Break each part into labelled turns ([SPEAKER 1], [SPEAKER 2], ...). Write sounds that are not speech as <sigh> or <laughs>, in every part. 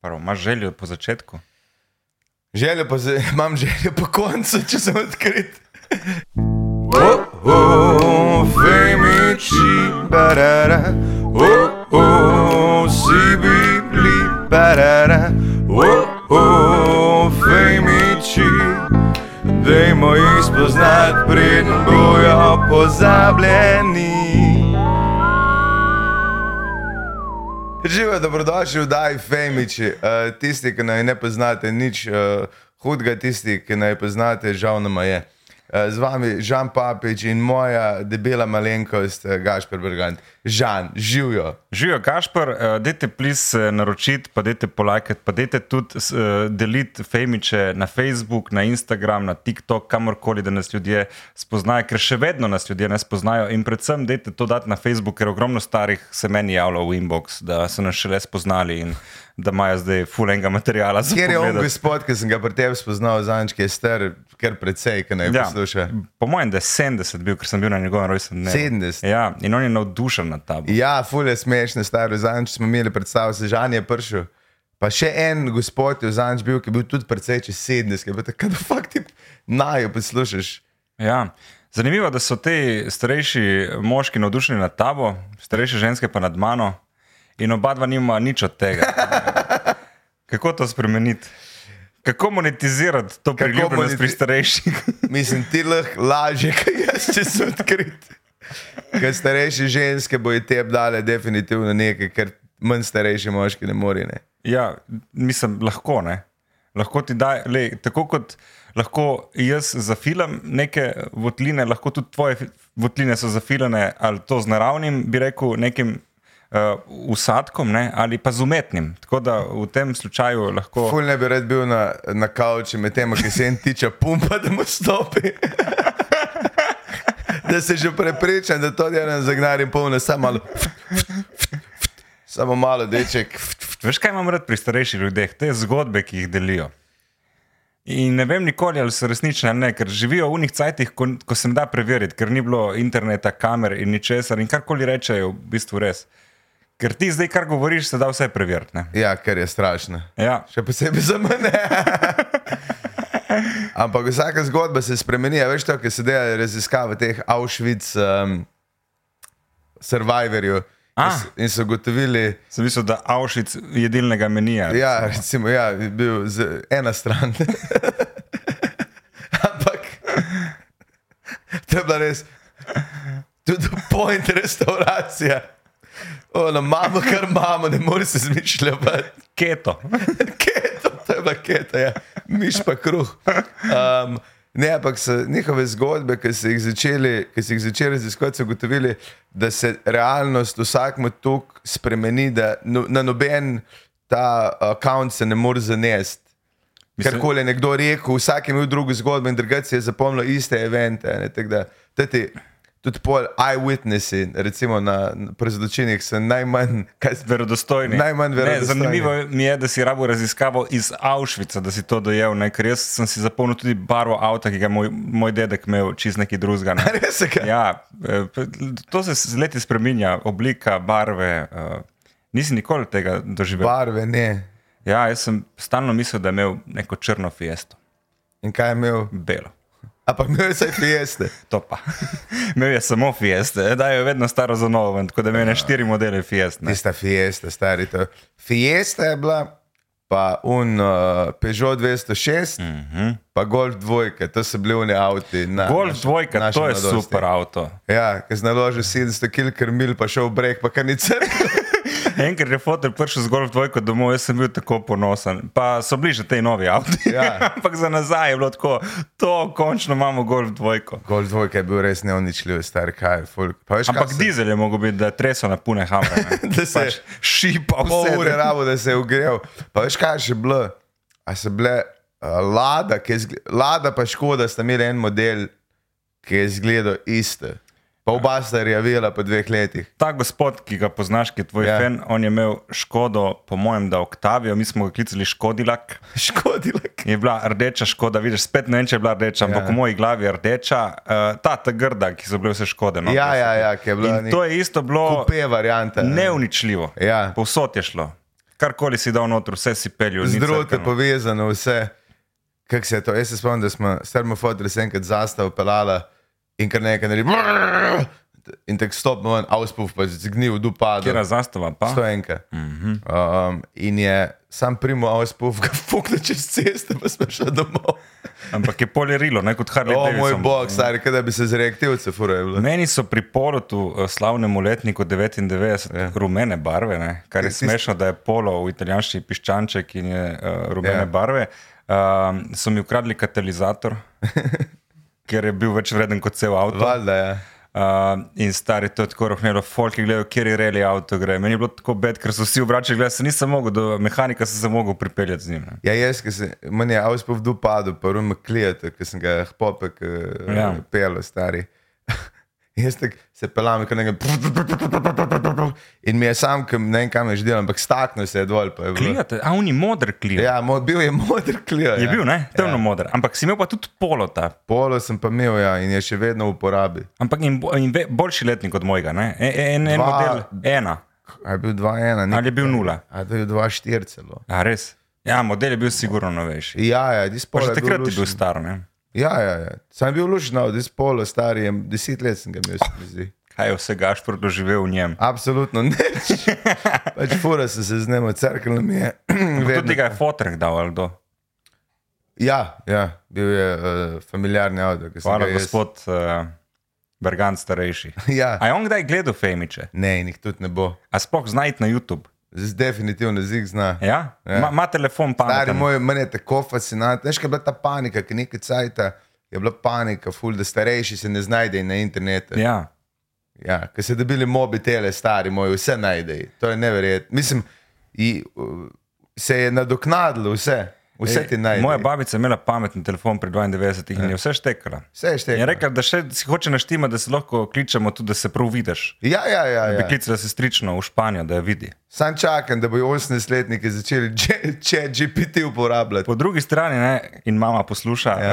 [SPEAKER 1] Prvo, imaš željo po začetku?
[SPEAKER 2] Željo pa, z- <laughs> imam željo po koncu, če sem odkrit. Dajmo jih spoznati, preden bojo pozabljeni. Živijo, dobrodošli v Daj Femiči. Uh, tisti, ki naj ne poznate nič uh, hudega, tisti, ki naj poznate, žal nam je. Uh, z vami Žan Papič in moja debela malenkost, uh, Gašper Bergant. Žan, živijo.
[SPEAKER 1] Živijo, Kašpar, eh, dajte plis eh, naročiti, pa dajte polajkati, pa dajte tudi s- eh, deliti fejmiče na Facebook, na Instagram, na TikTok, kamorkoli, da nas ljudje spoznajo, ker še vedno nas ljudje ne spoznajo. In predvsem dajte to dati na Facebook, ker ogromno starih se meni javlja v inbox, da so nas šele spoznali in da imajo zdaj fulenga materijala za
[SPEAKER 2] Ker je on
[SPEAKER 1] pogledati.
[SPEAKER 2] gospod, ki sem ga pri tebi spoznal, zanj, ki je star, ker precej, ki naj ja. posluša.
[SPEAKER 1] po mojem, da je 70 bil, ker sem bil na njegovem rojstnem dnevu.
[SPEAKER 2] 70?
[SPEAKER 1] Ja, in on je navdušen nad tabo.
[SPEAKER 2] Ja, fulje smešne, stari zanč smo imeli predstavo, se žan je prišel. Pa še en gospod je zanč bil, ki je bil tudi precej čez 70, ki je bil tako, da fakt ti najo poslušaš.
[SPEAKER 1] Ja. Zanimivo je, da so ti starejši moški navdušeni nad tabo, starejše ženske pa nad mano, in oba dva nima nič od tega. Kako to spremeniti? Kako monetizirati to priljubljenost
[SPEAKER 2] moneti-
[SPEAKER 1] pri starejših?
[SPEAKER 2] Mislim, ti lahko lažje, <laughs> kot jaz, če si odkrit. Ker starejše ženske bojo te dale definitivno nekaj, kar manj starejši moški ne more. Ne.
[SPEAKER 1] Ja, mislim, lahko ne. Lahko ti da, lej, tako kot lahko jaz zafilam neke votline, lahko tudi tvoje fi- votline so zafilane ali to z naravnim, bi rekel, nekim uh, usadkom ne, ali pa z umetnim. Tako da v tem slučaju lahko.
[SPEAKER 2] Ful ne bi rad bil na, na kavču med tem, ki se jim tiče pumpa, da mu stopi. <laughs> da se že prepričam, da to delam zagnarjem polno, samo malo. <laughs> Samo malo, deček.
[SPEAKER 1] Veš, kaj imam rad pri starejših ljudeh, te zgodbe, ki jih delijo. In ne vem nikoli, ali so resnične ali ne, ker živijo v unih cajtih, ko, ko se jim da preveriti, ker ni bilo interneta, kamer in ničesar. In karkoli rečejo, v bistvu res. Ker ti zdaj, kar govoriš, se da vse preveriti. ne.
[SPEAKER 2] Ja, kar je strašno.
[SPEAKER 1] Ja.
[SPEAKER 2] Še posebej za mene. Ampak vsaka zgodba se spremeni, a veš to, ki se dela raziskave teh Auschwitz um, survivorjev. In
[SPEAKER 1] Ah.
[SPEAKER 2] s- In so ugotovili,
[SPEAKER 1] Sem mislil, da Avšic jedilnega menija.
[SPEAKER 2] da ja, recimo, ja, je bil z ena stran. <laughs> Ampak to je bila res, tudi point restauracija. Ono, imamo, kar imamo, ne moreš se zmišljati.
[SPEAKER 1] Keto.
[SPEAKER 2] Keto, to je bila keta, ja. miš pa kruh. Um, ne, ampak so njihove zgodbe, ki so jih začeli, ki so jih začeli raziskovati, so ugotovili, da se realnost vsakmo tok spremeni, da no, na noben ta račun se ne more zanesti.
[SPEAKER 1] Mislim-
[SPEAKER 2] Karkoli je nekdo rekel, vsak je imel drugo zgodbo in drugače si je zapomnil iste evente. ne, tako da, Tati, tudi pol eyewitnessi, recimo na, na prezločinih, so najmanj, kaj se <laughs>
[SPEAKER 1] Verodostojni.
[SPEAKER 2] Najmanj
[SPEAKER 1] Ne,
[SPEAKER 2] verodostojni.
[SPEAKER 1] Zanimivo mi je, da si rabo raziskavo iz Avšvica, da si to dojel. Ne? Ker jaz sem si zapomnil tudi barvo avta, ki ga je moj, moj dedek imel, čist neki druzga.
[SPEAKER 2] <laughs>
[SPEAKER 1] Ne?
[SPEAKER 2] res je. kaj?
[SPEAKER 1] Ja, eh, p- to se z leti spremenja, oblika, barve. eh, Nisi nikoli tega doživel.
[SPEAKER 2] Barve ne.
[SPEAKER 1] Ja, jaz sem stalno mislil, da je imel neko črno fiesto,
[SPEAKER 2] In kaj je imel?
[SPEAKER 1] belo.
[SPEAKER 2] Ampak imel je vsaj fieste.
[SPEAKER 1] To pa. <laughs> imel je samo fieste, eh, da je vedno staro za novo, ven, tako da
[SPEAKER 2] Ja.
[SPEAKER 1] imel je štiri modele fieste.
[SPEAKER 2] Tista fiesta, stari to. Fiesta je bila, pa un uh, Peugeot 206, mm -hmm. pa Golf 2, to so bili oni avti. Na,
[SPEAKER 1] Mhm. Golf
[SPEAKER 2] naš-
[SPEAKER 1] dvojka,
[SPEAKER 2] naše
[SPEAKER 1] to je
[SPEAKER 2] mladosti.
[SPEAKER 1] super avto.
[SPEAKER 2] Ja, ki si naložil 700 km mil, pa šel v breg, pa kar ni
[SPEAKER 1] <laughs>
[SPEAKER 2] crkva.
[SPEAKER 1] Enkrat je fotor prišel z Golf dvojko domov, jaz sem bil tako ponosen. Pa so bliže tej novi avti.
[SPEAKER 2] Ja.
[SPEAKER 1] <laughs> Ampak za nazaj je bilo tako, to končno imamo Golf dvojko.
[SPEAKER 2] Golf 2 je bil res neuničljiv, star kaj je. ful- Pa veš,
[SPEAKER 1] Ampak
[SPEAKER 2] kaj se-
[SPEAKER 1] dizel je mogel biti, da treso na pune hamre. ne.
[SPEAKER 2] <laughs>
[SPEAKER 1] Pač
[SPEAKER 2] Da se-
[SPEAKER 1] šipa vse.
[SPEAKER 2] pol ure rabo, da se je ogrel. Pa veš, kaj je še bilo? A so bile uh, Lada, ki je zgle... Lada pa škoda, sta imeli en model, ki je izgledal iste. Pa oba sta rjavela po dveh letih. <laughs>
[SPEAKER 1] Ta gospod, ki ga poznaš, ki je tvoj
[SPEAKER 2] Ja.
[SPEAKER 1] yeah. fan, on je imel škodo, po mojem, da Oktavijo, mi smo ga klicali Škodilak.
[SPEAKER 2] Škodila.
[SPEAKER 1] Je bila rdeča škoda, vidiš, spet ne vem, če je bila rdeča, ampak
[SPEAKER 2] Ja.
[SPEAKER 1] yeah. v moji glavi je rdeča, uh, ta, ta grda, ki so bile vse škode. No,
[SPEAKER 2] Ja, ja, ja, ki je bila
[SPEAKER 1] In to je isto bilo
[SPEAKER 2] kupe varianta. ne?
[SPEAKER 1] neuničljivo.
[SPEAKER 2] Ja.
[SPEAKER 1] Povsod je šlo. karkoli si dal noter, vse si pelil.
[SPEAKER 2] Z drote povezano, vse. Kako se je to? Jaz se spomnim, da smo strmofotili se enkrat zastav pelala in kar nekaj naredili. In tako stopno en avspuf, pa je zgnil, dupa.
[SPEAKER 1] Kjer je zastava? Pa?
[SPEAKER 2] Stojenka. Ah.
[SPEAKER 1] Mhm.
[SPEAKER 2] Um, in je sam primo avspuf, ga <laughs> fukne čez ceste, pa smo šli domov.
[SPEAKER 1] Ampak je polerilo, ne kot Harley
[SPEAKER 2] O moj
[SPEAKER 1] Davidson.
[SPEAKER 2] bog, stari, kaj da bi se zrektil, se furajo. bilo.
[SPEAKER 1] Meni so pri porotu eh, slavnemu letniku 99
[SPEAKER 2] Ja.
[SPEAKER 1] yeah. rumene barve, ne? kar je
[SPEAKER 2] Tisti-
[SPEAKER 1] smešno, da je polo v italijanščini piščanček in je uh, rumene
[SPEAKER 2] Ja.
[SPEAKER 1] yeah. barve. Um, so mi ukradli
[SPEAKER 2] <laughs>
[SPEAKER 1] katalizator, ker je bil več vreden kot cel avto.
[SPEAKER 2] Valjda, ja.
[SPEAKER 1] Uh, in stari to je tako rohnelo, folk je gledal, kjer je reli avto gre. Meni je bilo tako bed, ker so vsi obračali, gledal sem, nisem mogel, do mehanika sem se mogel pripeljati z njim. Ne?
[SPEAKER 2] Ja, jaz, ki sem, meni je avspuf dupadel, pa rume klijete, ker sem ga popek ja.
[SPEAKER 1] Ja.
[SPEAKER 2] pelo, stari. <laughs> Jaz tak se pelam, kot nekaj. In mi je sam, ki ne vem, kam je že delal, ampak staknil se je dol. pa je bilo-
[SPEAKER 1] Klijate, a oni modr klijo.
[SPEAKER 2] Ja, moj, bil je <laughs> moder klijo.
[SPEAKER 1] Je
[SPEAKER 2] ja.
[SPEAKER 1] bil, ne, temno yeah. modr, ampak si imel pa tudi polota.
[SPEAKER 2] Polo sem pa imel, ja, in je še vedno v uporabi.
[SPEAKER 1] Ampak in, bo- in ve, boljši letnik od mojega, ne? E, en, en
[SPEAKER 2] Dva-
[SPEAKER 1] model, ena
[SPEAKER 2] A je bil 2-1,
[SPEAKER 1] ali
[SPEAKER 2] ne?
[SPEAKER 1] je bil nula.
[SPEAKER 2] A je bil 2-4 celo.
[SPEAKER 1] A res? Ja, model je bil sigurno novejši.
[SPEAKER 2] Ja, ja, dis
[SPEAKER 1] Pa
[SPEAKER 2] polo.
[SPEAKER 1] že
[SPEAKER 2] je bil
[SPEAKER 1] takrat je
[SPEAKER 2] lušen.
[SPEAKER 1] bil star, ne?
[SPEAKER 2] Ja, ja, ja. Sam je bil lušno, dis polo, stari, je- deset let sem ga imel, se mi zdi.
[SPEAKER 1] Kaj je vse Gašpor doživel v njem?
[SPEAKER 2] Absolutno
[SPEAKER 1] <laughs>
[SPEAKER 2] nič. Pač fura sem se z njim, crkveno mi je. <clears throat>
[SPEAKER 1] Kdo
[SPEAKER 2] vedno-
[SPEAKER 1] ti ga je fotorek dal, Aldo?
[SPEAKER 2] Ja, ja, bil je uh, familiarni avto. ki sem
[SPEAKER 1] Hvala,
[SPEAKER 2] ga jaz-
[SPEAKER 1] gospod uh, Bergant starejši.
[SPEAKER 2] Ja.
[SPEAKER 1] A je on kdaj gledal Femiče?
[SPEAKER 2] Ne, nik tudi ne bo.
[SPEAKER 1] A spoh znajti na YouTube?
[SPEAKER 2] Z definitivno zig zna.
[SPEAKER 1] Ja?
[SPEAKER 2] Ja.
[SPEAKER 1] Ma, ma telefon
[SPEAKER 2] Stari
[SPEAKER 1] pameten.
[SPEAKER 2] moj, meni je tako fascinantno. Veš, kaj je bila ta panika, ki nekaj cajta je bila panika, ful, da starejši se ne znajdejo na internetu. Ja.
[SPEAKER 1] Ja.
[SPEAKER 2] Ja, ker se dobili mobitele, stari moj, vse najdejo. To je neverjetno. Mislim, i, uh, se je nadoknadilo vse. Vse ti Ja. najdejo.
[SPEAKER 1] E, Moja babica je imela pameten telefon pri 92 in je vse štekala.
[SPEAKER 2] Vse je
[SPEAKER 1] Je
[SPEAKER 2] štekalo.
[SPEAKER 1] rekla, da še, si hoče naštima, da se lahko kličemo tudi, da se prav vidiš.
[SPEAKER 2] Ja, ja, ja.
[SPEAKER 1] Ja.
[SPEAKER 2] ja.
[SPEAKER 1] Klicala se strično v Španijo, da jo vidi.
[SPEAKER 2] Sam čakam, da bojo 18-letniki začeli če GPT uporabljati.
[SPEAKER 1] Po drugi strani, ne, in mama posluša, ja.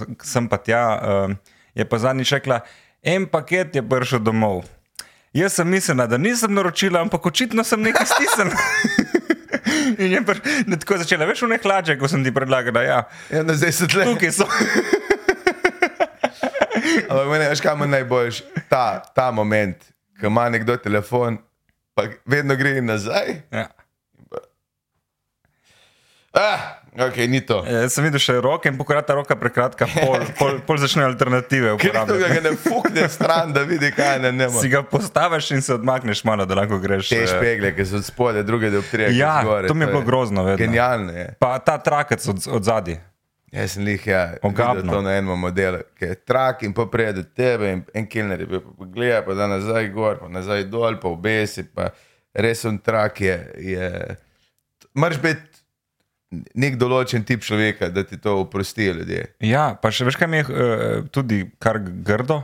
[SPEAKER 1] uh, sem pa tja, uh, je pa zadnjič rekla, en paket je prišel domov. Jaz sem mislila, da nisem naročila, ampak očitno sem nekaj stisnila. <laughs> In je pr, ne, tako začela, veš, v ne hlače, ko sem ti predlagala, ja,
[SPEAKER 2] Ja, na 10 let.
[SPEAKER 1] tukaj <laughs> so.
[SPEAKER 2] Ampak meni, veš, kam je najboljši ta, ta moment, ko ima nekdo telefon, pa vedno gre nazaj.
[SPEAKER 1] Ja.
[SPEAKER 2] Ah, ok, ni to.
[SPEAKER 1] Eh, Sem videl še roke in pokrat ta roka <laughs> prekratka, pol, pol, pol začne alternative
[SPEAKER 2] Ker nekdo
[SPEAKER 1] uporabljati.
[SPEAKER 2] ga ne fukne stran, da vidi, kaj ne nema.
[SPEAKER 1] Si ga postaviš in se odmakneš malo, da lahko greš.
[SPEAKER 2] Te
[SPEAKER 1] eh,
[SPEAKER 2] špegle, ki so od spode, druge da obtrije.
[SPEAKER 1] Ja, to mi je bilo grozno, ja. vedno.
[SPEAKER 2] Genialno je.
[SPEAKER 1] Pa ta trakec od, od zadaj.
[SPEAKER 2] Jaz sem jih, ja,
[SPEAKER 1] Ogabno.
[SPEAKER 2] videl to na enem modelu, ki je trak in pa pride do tebe, in en kilner je bil, pa pogleda, pa da nazaj gor, pa nazaj dol, pa obesi, pa res on trak je. je... Mrš biti nek določen tip človeka, da ti to oprostijo ljudje.
[SPEAKER 1] Ja, pa še veš, kaj mi je eh, tudi kar grdo,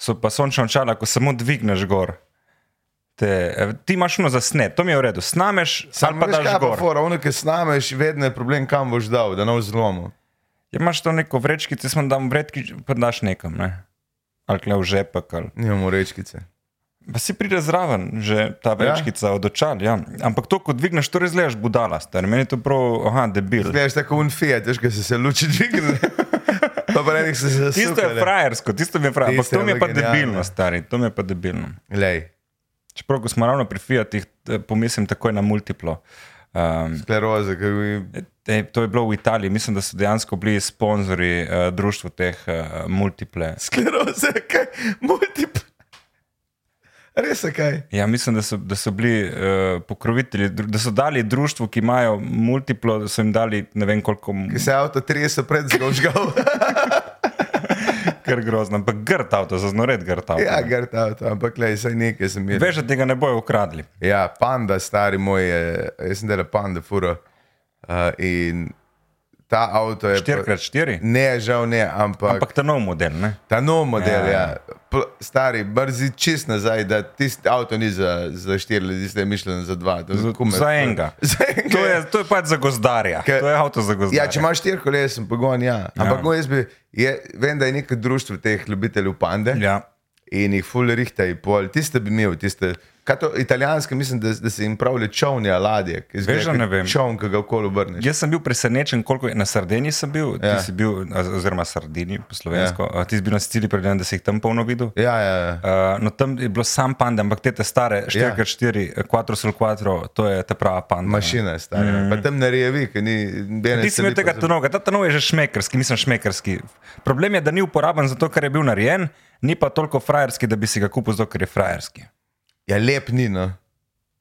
[SPEAKER 1] so pa sončna očala, ko samo dvigneš gor. Te, eh, ti imaš no zasnet, to mi je v redu. Snameš, sam
[SPEAKER 2] Samo
[SPEAKER 1] pa
[SPEAKER 2] veš,
[SPEAKER 1] daš
[SPEAKER 2] kaj pa
[SPEAKER 1] gor.
[SPEAKER 2] fora, ono, ki snameš, vedno je problem, kam boš dal, da ne v zlomu.
[SPEAKER 1] Ja, imaš to neko vrečkico, sem dam vrečki, pa daš nekam, ne? ali kle v žepek. Ali.
[SPEAKER 2] Nimamo rečkice.
[SPEAKER 1] Pa si pride zraven, že ta vrečkica ja. od očal. Ja. Ampak to, ko dvigneš, to res gledaš budala, star. Meni je to prav, aha, debil.
[SPEAKER 2] Gledaš tako unfiat, veš, kaj se se luči
[SPEAKER 1] <laughs>
[SPEAKER 2] dvigne. pa pa enih se se
[SPEAKER 1] Tisto je frajersko, tisto mi je frajersko. Ampak
[SPEAKER 2] ja.
[SPEAKER 1] to
[SPEAKER 2] Tisto je
[SPEAKER 1] mi je
[SPEAKER 2] bilo
[SPEAKER 1] pa
[SPEAKER 2] genialno.
[SPEAKER 1] debilno, stari, to mi je pa debilno.
[SPEAKER 2] Lej,
[SPEAKER 1] Čeprav, ko smo ravno pri Fiatih, eh, pomislim takoj na multiplo. Um,
[SPEAKER 2] skleroza, kaj bi
[SPEAKER 1] e, to je bilo v Italiji, mislim, da so dejansko bili sponzorji uh, društva teh uh, multiple.
[SPEAKER 2] skleroze, kaj, multipl. Res je kaj.
[SPEAKER 1] Ja, mislim, da so, da so bili uh, pokrovitelji, dru- da so dali društvu, ki imajo multiplo, da so jim dali ne vem koliko, m-
[SPEAKER 2] Ki se avto trese pred zgožgal.
[SPEAKER 1] <laughs> kar grozno, ampak grd avto, zaznored grd avto.
[SPEAKER 2] ja, gart avto, ampak le, saj nekaj sem imel.
[SPEAKER 1] Veš, da tega ne bojo ukradli.
[SPEAKER 2] Ja, panda, stari moj, je, jaz sem delal panda, furo. Uh, in ta avto je. pa-
[SPEAKER 1] 4x4,
[SPEAKER 2] Ne, žal ne, ampak, ampak
[SPEAKER 1] ampak ta nov model, ne?
[SPEAKER 2] ta nov model,
[SPEAKER 1] Ja,
[SPEAKER 2] ja.
[SPEAKER 1] ja.
[SPEAKER 2] ja. Pl- Stari, brzi čist nazaj, da tisti avto ni za, za štiri ljudi, zdaj je mišljen za dva. to
[SPEAKER 1] Za-
[SPEAKER 2] kumer.
[SPEAKER 1] za enega.
[SPEAKER 2] <laughs> Za enega.
[SPEAKER 1] To je, to je pač za gozdarja,
[SPEAKER 2] Ke-
[SPEAKER 1] to je avto za gozdarja.
[SPEAKER 2] Ja, če imaš štiri kolesa, pogon, ja. Ampak
[SPEAKER 1] Ja.
[SPEAKER 2] ja. jaz bi, je, vem, da je neko društvo teh ljubiteljev pande.
[SPEAKER 1] ja.
[SPEAKER 2] in jih fulerihta in pol, tiste bi imel, tiste. Kaj to italijanske, mislim, da, da se jim pravi čovni ladje, ki
[SPEAKER 1] Veš, da ne vem.
[SPEAKER 2] Čovn, ki ga okoli obrneš.
[SPEAKER 1] Jaz sem bil presenečen, koliko je na Sardini sem bil, ja.
[SPEAKER 2] Pač. Ja.
[SPEAKER 1] ti si bil, a- oziroma Sardini, po slovensko, ja. ti si bil na Siciliji, predvidevam, da si jih tam polno videl.
[SPEAKER 2] Ja, ja, ja.
[SPEAKER 1] Uh, no, tam je bilo sam panda, ampak te, te stare 4x4, 4x4, to je ta prava panda.
[SPEAKER 2] Mašina je stara. Mm. Pa tam narejevi, ki ni
[SPEAKER 1] Ti
[SPEAKER 2] danes.
[SPEAKER 1] si imel tega tonovega, ta tonov je že šmekerski, mislim šmekerski. Problem je, da ni uporaben zato, ker je bil narejen, ni pa toliko frajerski, da bi si ga kupil zato, ker je frajerski.
[SPEAKER 2] Ja, lep ni, no.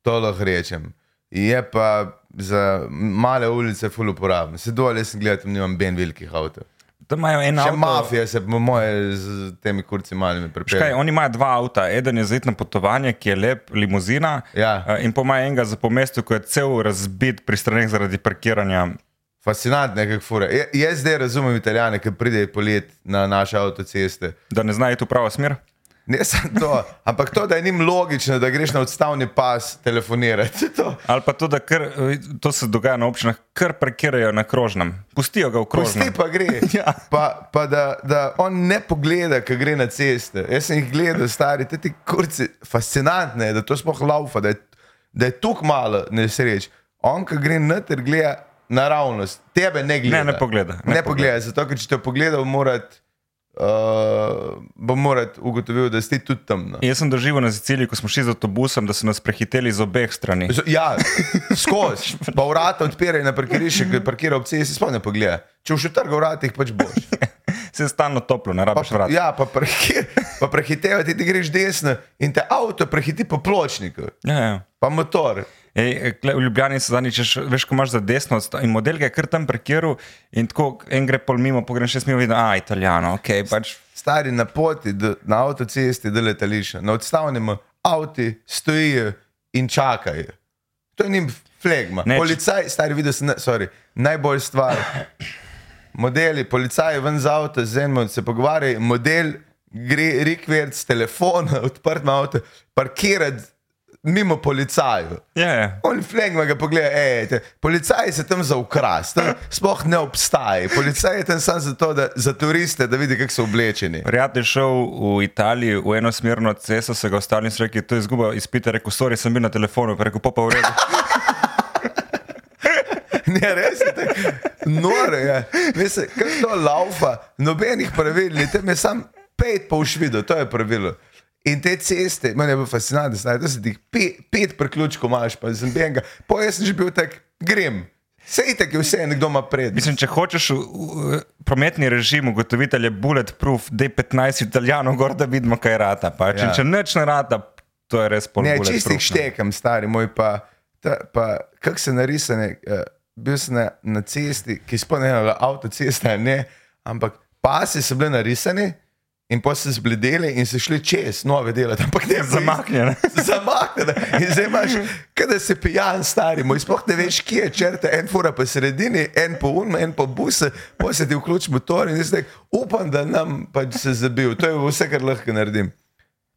[SPEAKER 2] to lahko rečem. Je pa za male ulice ful uporaben. Se dol, jaz sem gledal, tam nimam ben velikih avtomobilov.
[SPEAKER 1] Tam imajo en
[SPEAKER 2] Še
[SPEAKER 1] avto.
[SPEAKER 2] mafija se po moje z temi kurci malimi
[SPEAKER 1] Kaj,
[SPEAKER 2] prepelje.
[SPEAKER 1] oni imajo dva avta, eden je za letno potovanje, ki je lep, limuzina,
[SPEAKER 2] Ja.
[SPEAKER 1] eh, in pa ima enega za pomestu, ki je cel razbit pri straneh zaradi parkiranja.
[SPEAKER 2] Fascinantno je, kako fura. Ja- Jaz zdaj razumem italijane, ki pridejo polet na naše avtoceste.
[SPEAKER 1] Da ne znajo tu pravo smer.
[SPEAKER 2] Ne samo to, ampak to, da je njim logično, da greš na odstavni pas telefonirati. <laughs> To.
[SPEAKER 1] Ali pa to, da kar, eh, to se dogaja na občinah, kar parkirajo na krožnem. Pustijo ga v krožnem.
[SPEAKER 2] Pusti pa gre.
[SPEAKER 1] <laughs> Ja.
[SPEAKER 2] Pa, pa da, da on ne pogleda, ki gre na ceste. Jaz sem jih gledal, stari, te ti kurci, fascinantne je, da to sploh laufa, da je, da je tuk malo nesreč. On, ki gre noter, gleda naravnost, tebe ne gleda.
[SPEAKER 1] Ne, ne pogleda, ne
[SPEAKER 2] Ne, ne
[SPEAKER 1] pogleda.
[SPEAKER 2] pogleda, zato ker če te pogledal, morat, uh, bo morat ugotovil, da si ti tudi no. temno.
[SPEAKER 1] Jaz sem doživel na Siciliji, ko smo šli z avtobusom, da so nas prehiteli z obeh strani.
[SPEAKER 2] Z- Ja, skozi. Pa vrata odpirajo na parkirišče, ki parkira ob cesti, sploh ne pogleda. Če boš utrgal vrata, jih pač boš.
[SPEAKER 1] Se je stalno toplo, ne rabiš
[SPEAKER 2] Pa,
[SPEAKER 1] vrati.
[SPEAKER 2] ja, pa, prehit, <laughs> pa prehitevaš, ti, ti greš desno in te avto prehiti po pločniku,
[SPEAKER 1] Ja, ja.
[SPEAKER 2] pa motor.
[SPEAKER 1] Ej, kle, v Ljubljani se zadnjič, še- veš, ko imaš za desno, odsta- in model ga je kar tam parkiral, in tako en gre pol mimo, pogreš šest minut, vidiš, a, italijano, ok, pač.
[SPEAKER 2] Stari na poti, do, na avtocesti, do letališča, na odstavnem avtu stojijo in čakajo. To je njim flegma.
[SPEAKER 1] Ne,
[SPEAKER 2] Ne,
[SPEAKER 1] če-
[SPEAKER 2] Policaj, stari videl sem, na- sorry, najbolj stvar. Modeli, policaj je ven z avta, z enim se pogovarja, model gre rikvert s telefona, <laughs> odprt na avto, parkirati mimo policajev.
[SPEAKER 1] Ja, ja.
[SPEAKER 2] On flegma ga pogleda, ej, te, policaj se tam za ukras, tam sploh ne obstaja. Policaj je tam samo zato, da za turiste, da vidi, kako so oblečeni. <laughs>
[SPEAKER 1] Prijatelj je šel v Italiji v enosmerno cesto, se ga ostali in so rekli, to je izguba izpita, rekel, sorry, sem bil na telefonu, pa rekel, pa pa v redu. <laughs>
[SPEAKER 2] Ne, res je tako nore. Je. Veste, kaj to laufa, nobenih pravil, ni, tam je sam pet pa ušvido, to je pravilo. In te ceste, meni je bilo fascinantno, znaj, da si ti pet, pet priključkov imaš, pa sem benga. Po jaz sem že bil tak, grem. Sej tako je vse, nekdo ima pred.
[SPEAKER 1] Mislim, če hočeš v, v prometni režim ugotoviti, ali je bulletproof, D15 italijanov, gor da vidimo, kaj rata. Pač. Ja.
[SPEAKER 2] Ja.
[SPEAKER 1] Če nič ne rata, to je res polno.
[SPEAKER 2] Ne, čistih štekam, stari moj, pa, ta, pa kak se narisane, uh, bil sem na, na cesti, ki spomnim, avtocesta, je, ne, ampak pasi so bili narisani in pa so se zbledeli in so šli čez nove dele, ampak ne
[SPEAKER 1] Zamaknjene.
[SPEAKER 2] Zamaknjene. In zdaj imaš, kaj da si pijan, stari moj, sploh ne veš, kje je črta, en fura po sredini, en po unma, en po buse, pa se ti vključi motor in jaz tak, upam, da nam pač se zabil. To je vse, kar lahko naredim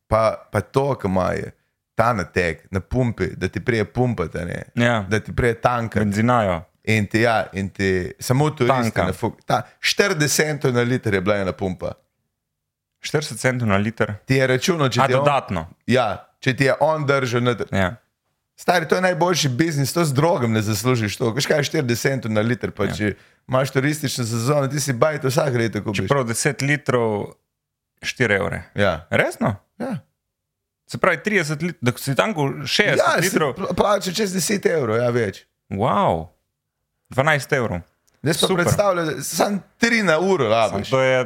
[SPEAKER 2] pa, pa to, ki ima je ta nateg na pumpi, da ti prije pumpati, a ne,
[SPEAKER 1] <laughs> Ja.
[SPEAKER 2] da ti prije tanka.
[SPEAKER 1] Benzinajo.
[SPEAKER 2] In ti, ja, in ti samo to
[SPEAKER 1] Tanka.
[SPEAKER 2] je. 40 centov na liter je bila ena pumpa.
[SPEAKER 1] 40 centov na liter.
[SPEAKER 2] Ti je računo, če
[SPEAKER 1] A
[SPEAKER 2] ti je, on,
[SPEAKER 1] dodatno.
[SPEAKER 2] ja, če ti je on držal. Na,
[SPEAKER 1] Ja.
[SPEAKER 2] stari, to je najboljši biznis, to z drogom ne zaslužiš. To. Veš kaj, 40 centov na liter, pa ja. če imaš turistično sezono, ti si bajt vsak leto kupiš.
[SPEAKER 1] Čeprav 10 litrov, 4 evre.
[SPEAKER 2] Ja.
[SPEAKER 1] Resno?
[SPEAKER 2] Ja.
[SPEAKER 1] Se pravi, 30 litrov, da si tam ko 60
[SPEAKER 2] Ja, si
[SPEAKER 1] litrov.
[SPEAKER 2] pla- plačal čez 10 evrov, ja več.
[SPEAKER 1] Wow, 12 evrov.
[SPEAKER 2] Jaz pa
[SPEAKER 1] Super.
[SPEAKER 2] predstavljam, da samo 3 na uro rabiš.
[SPEAKER 1] To je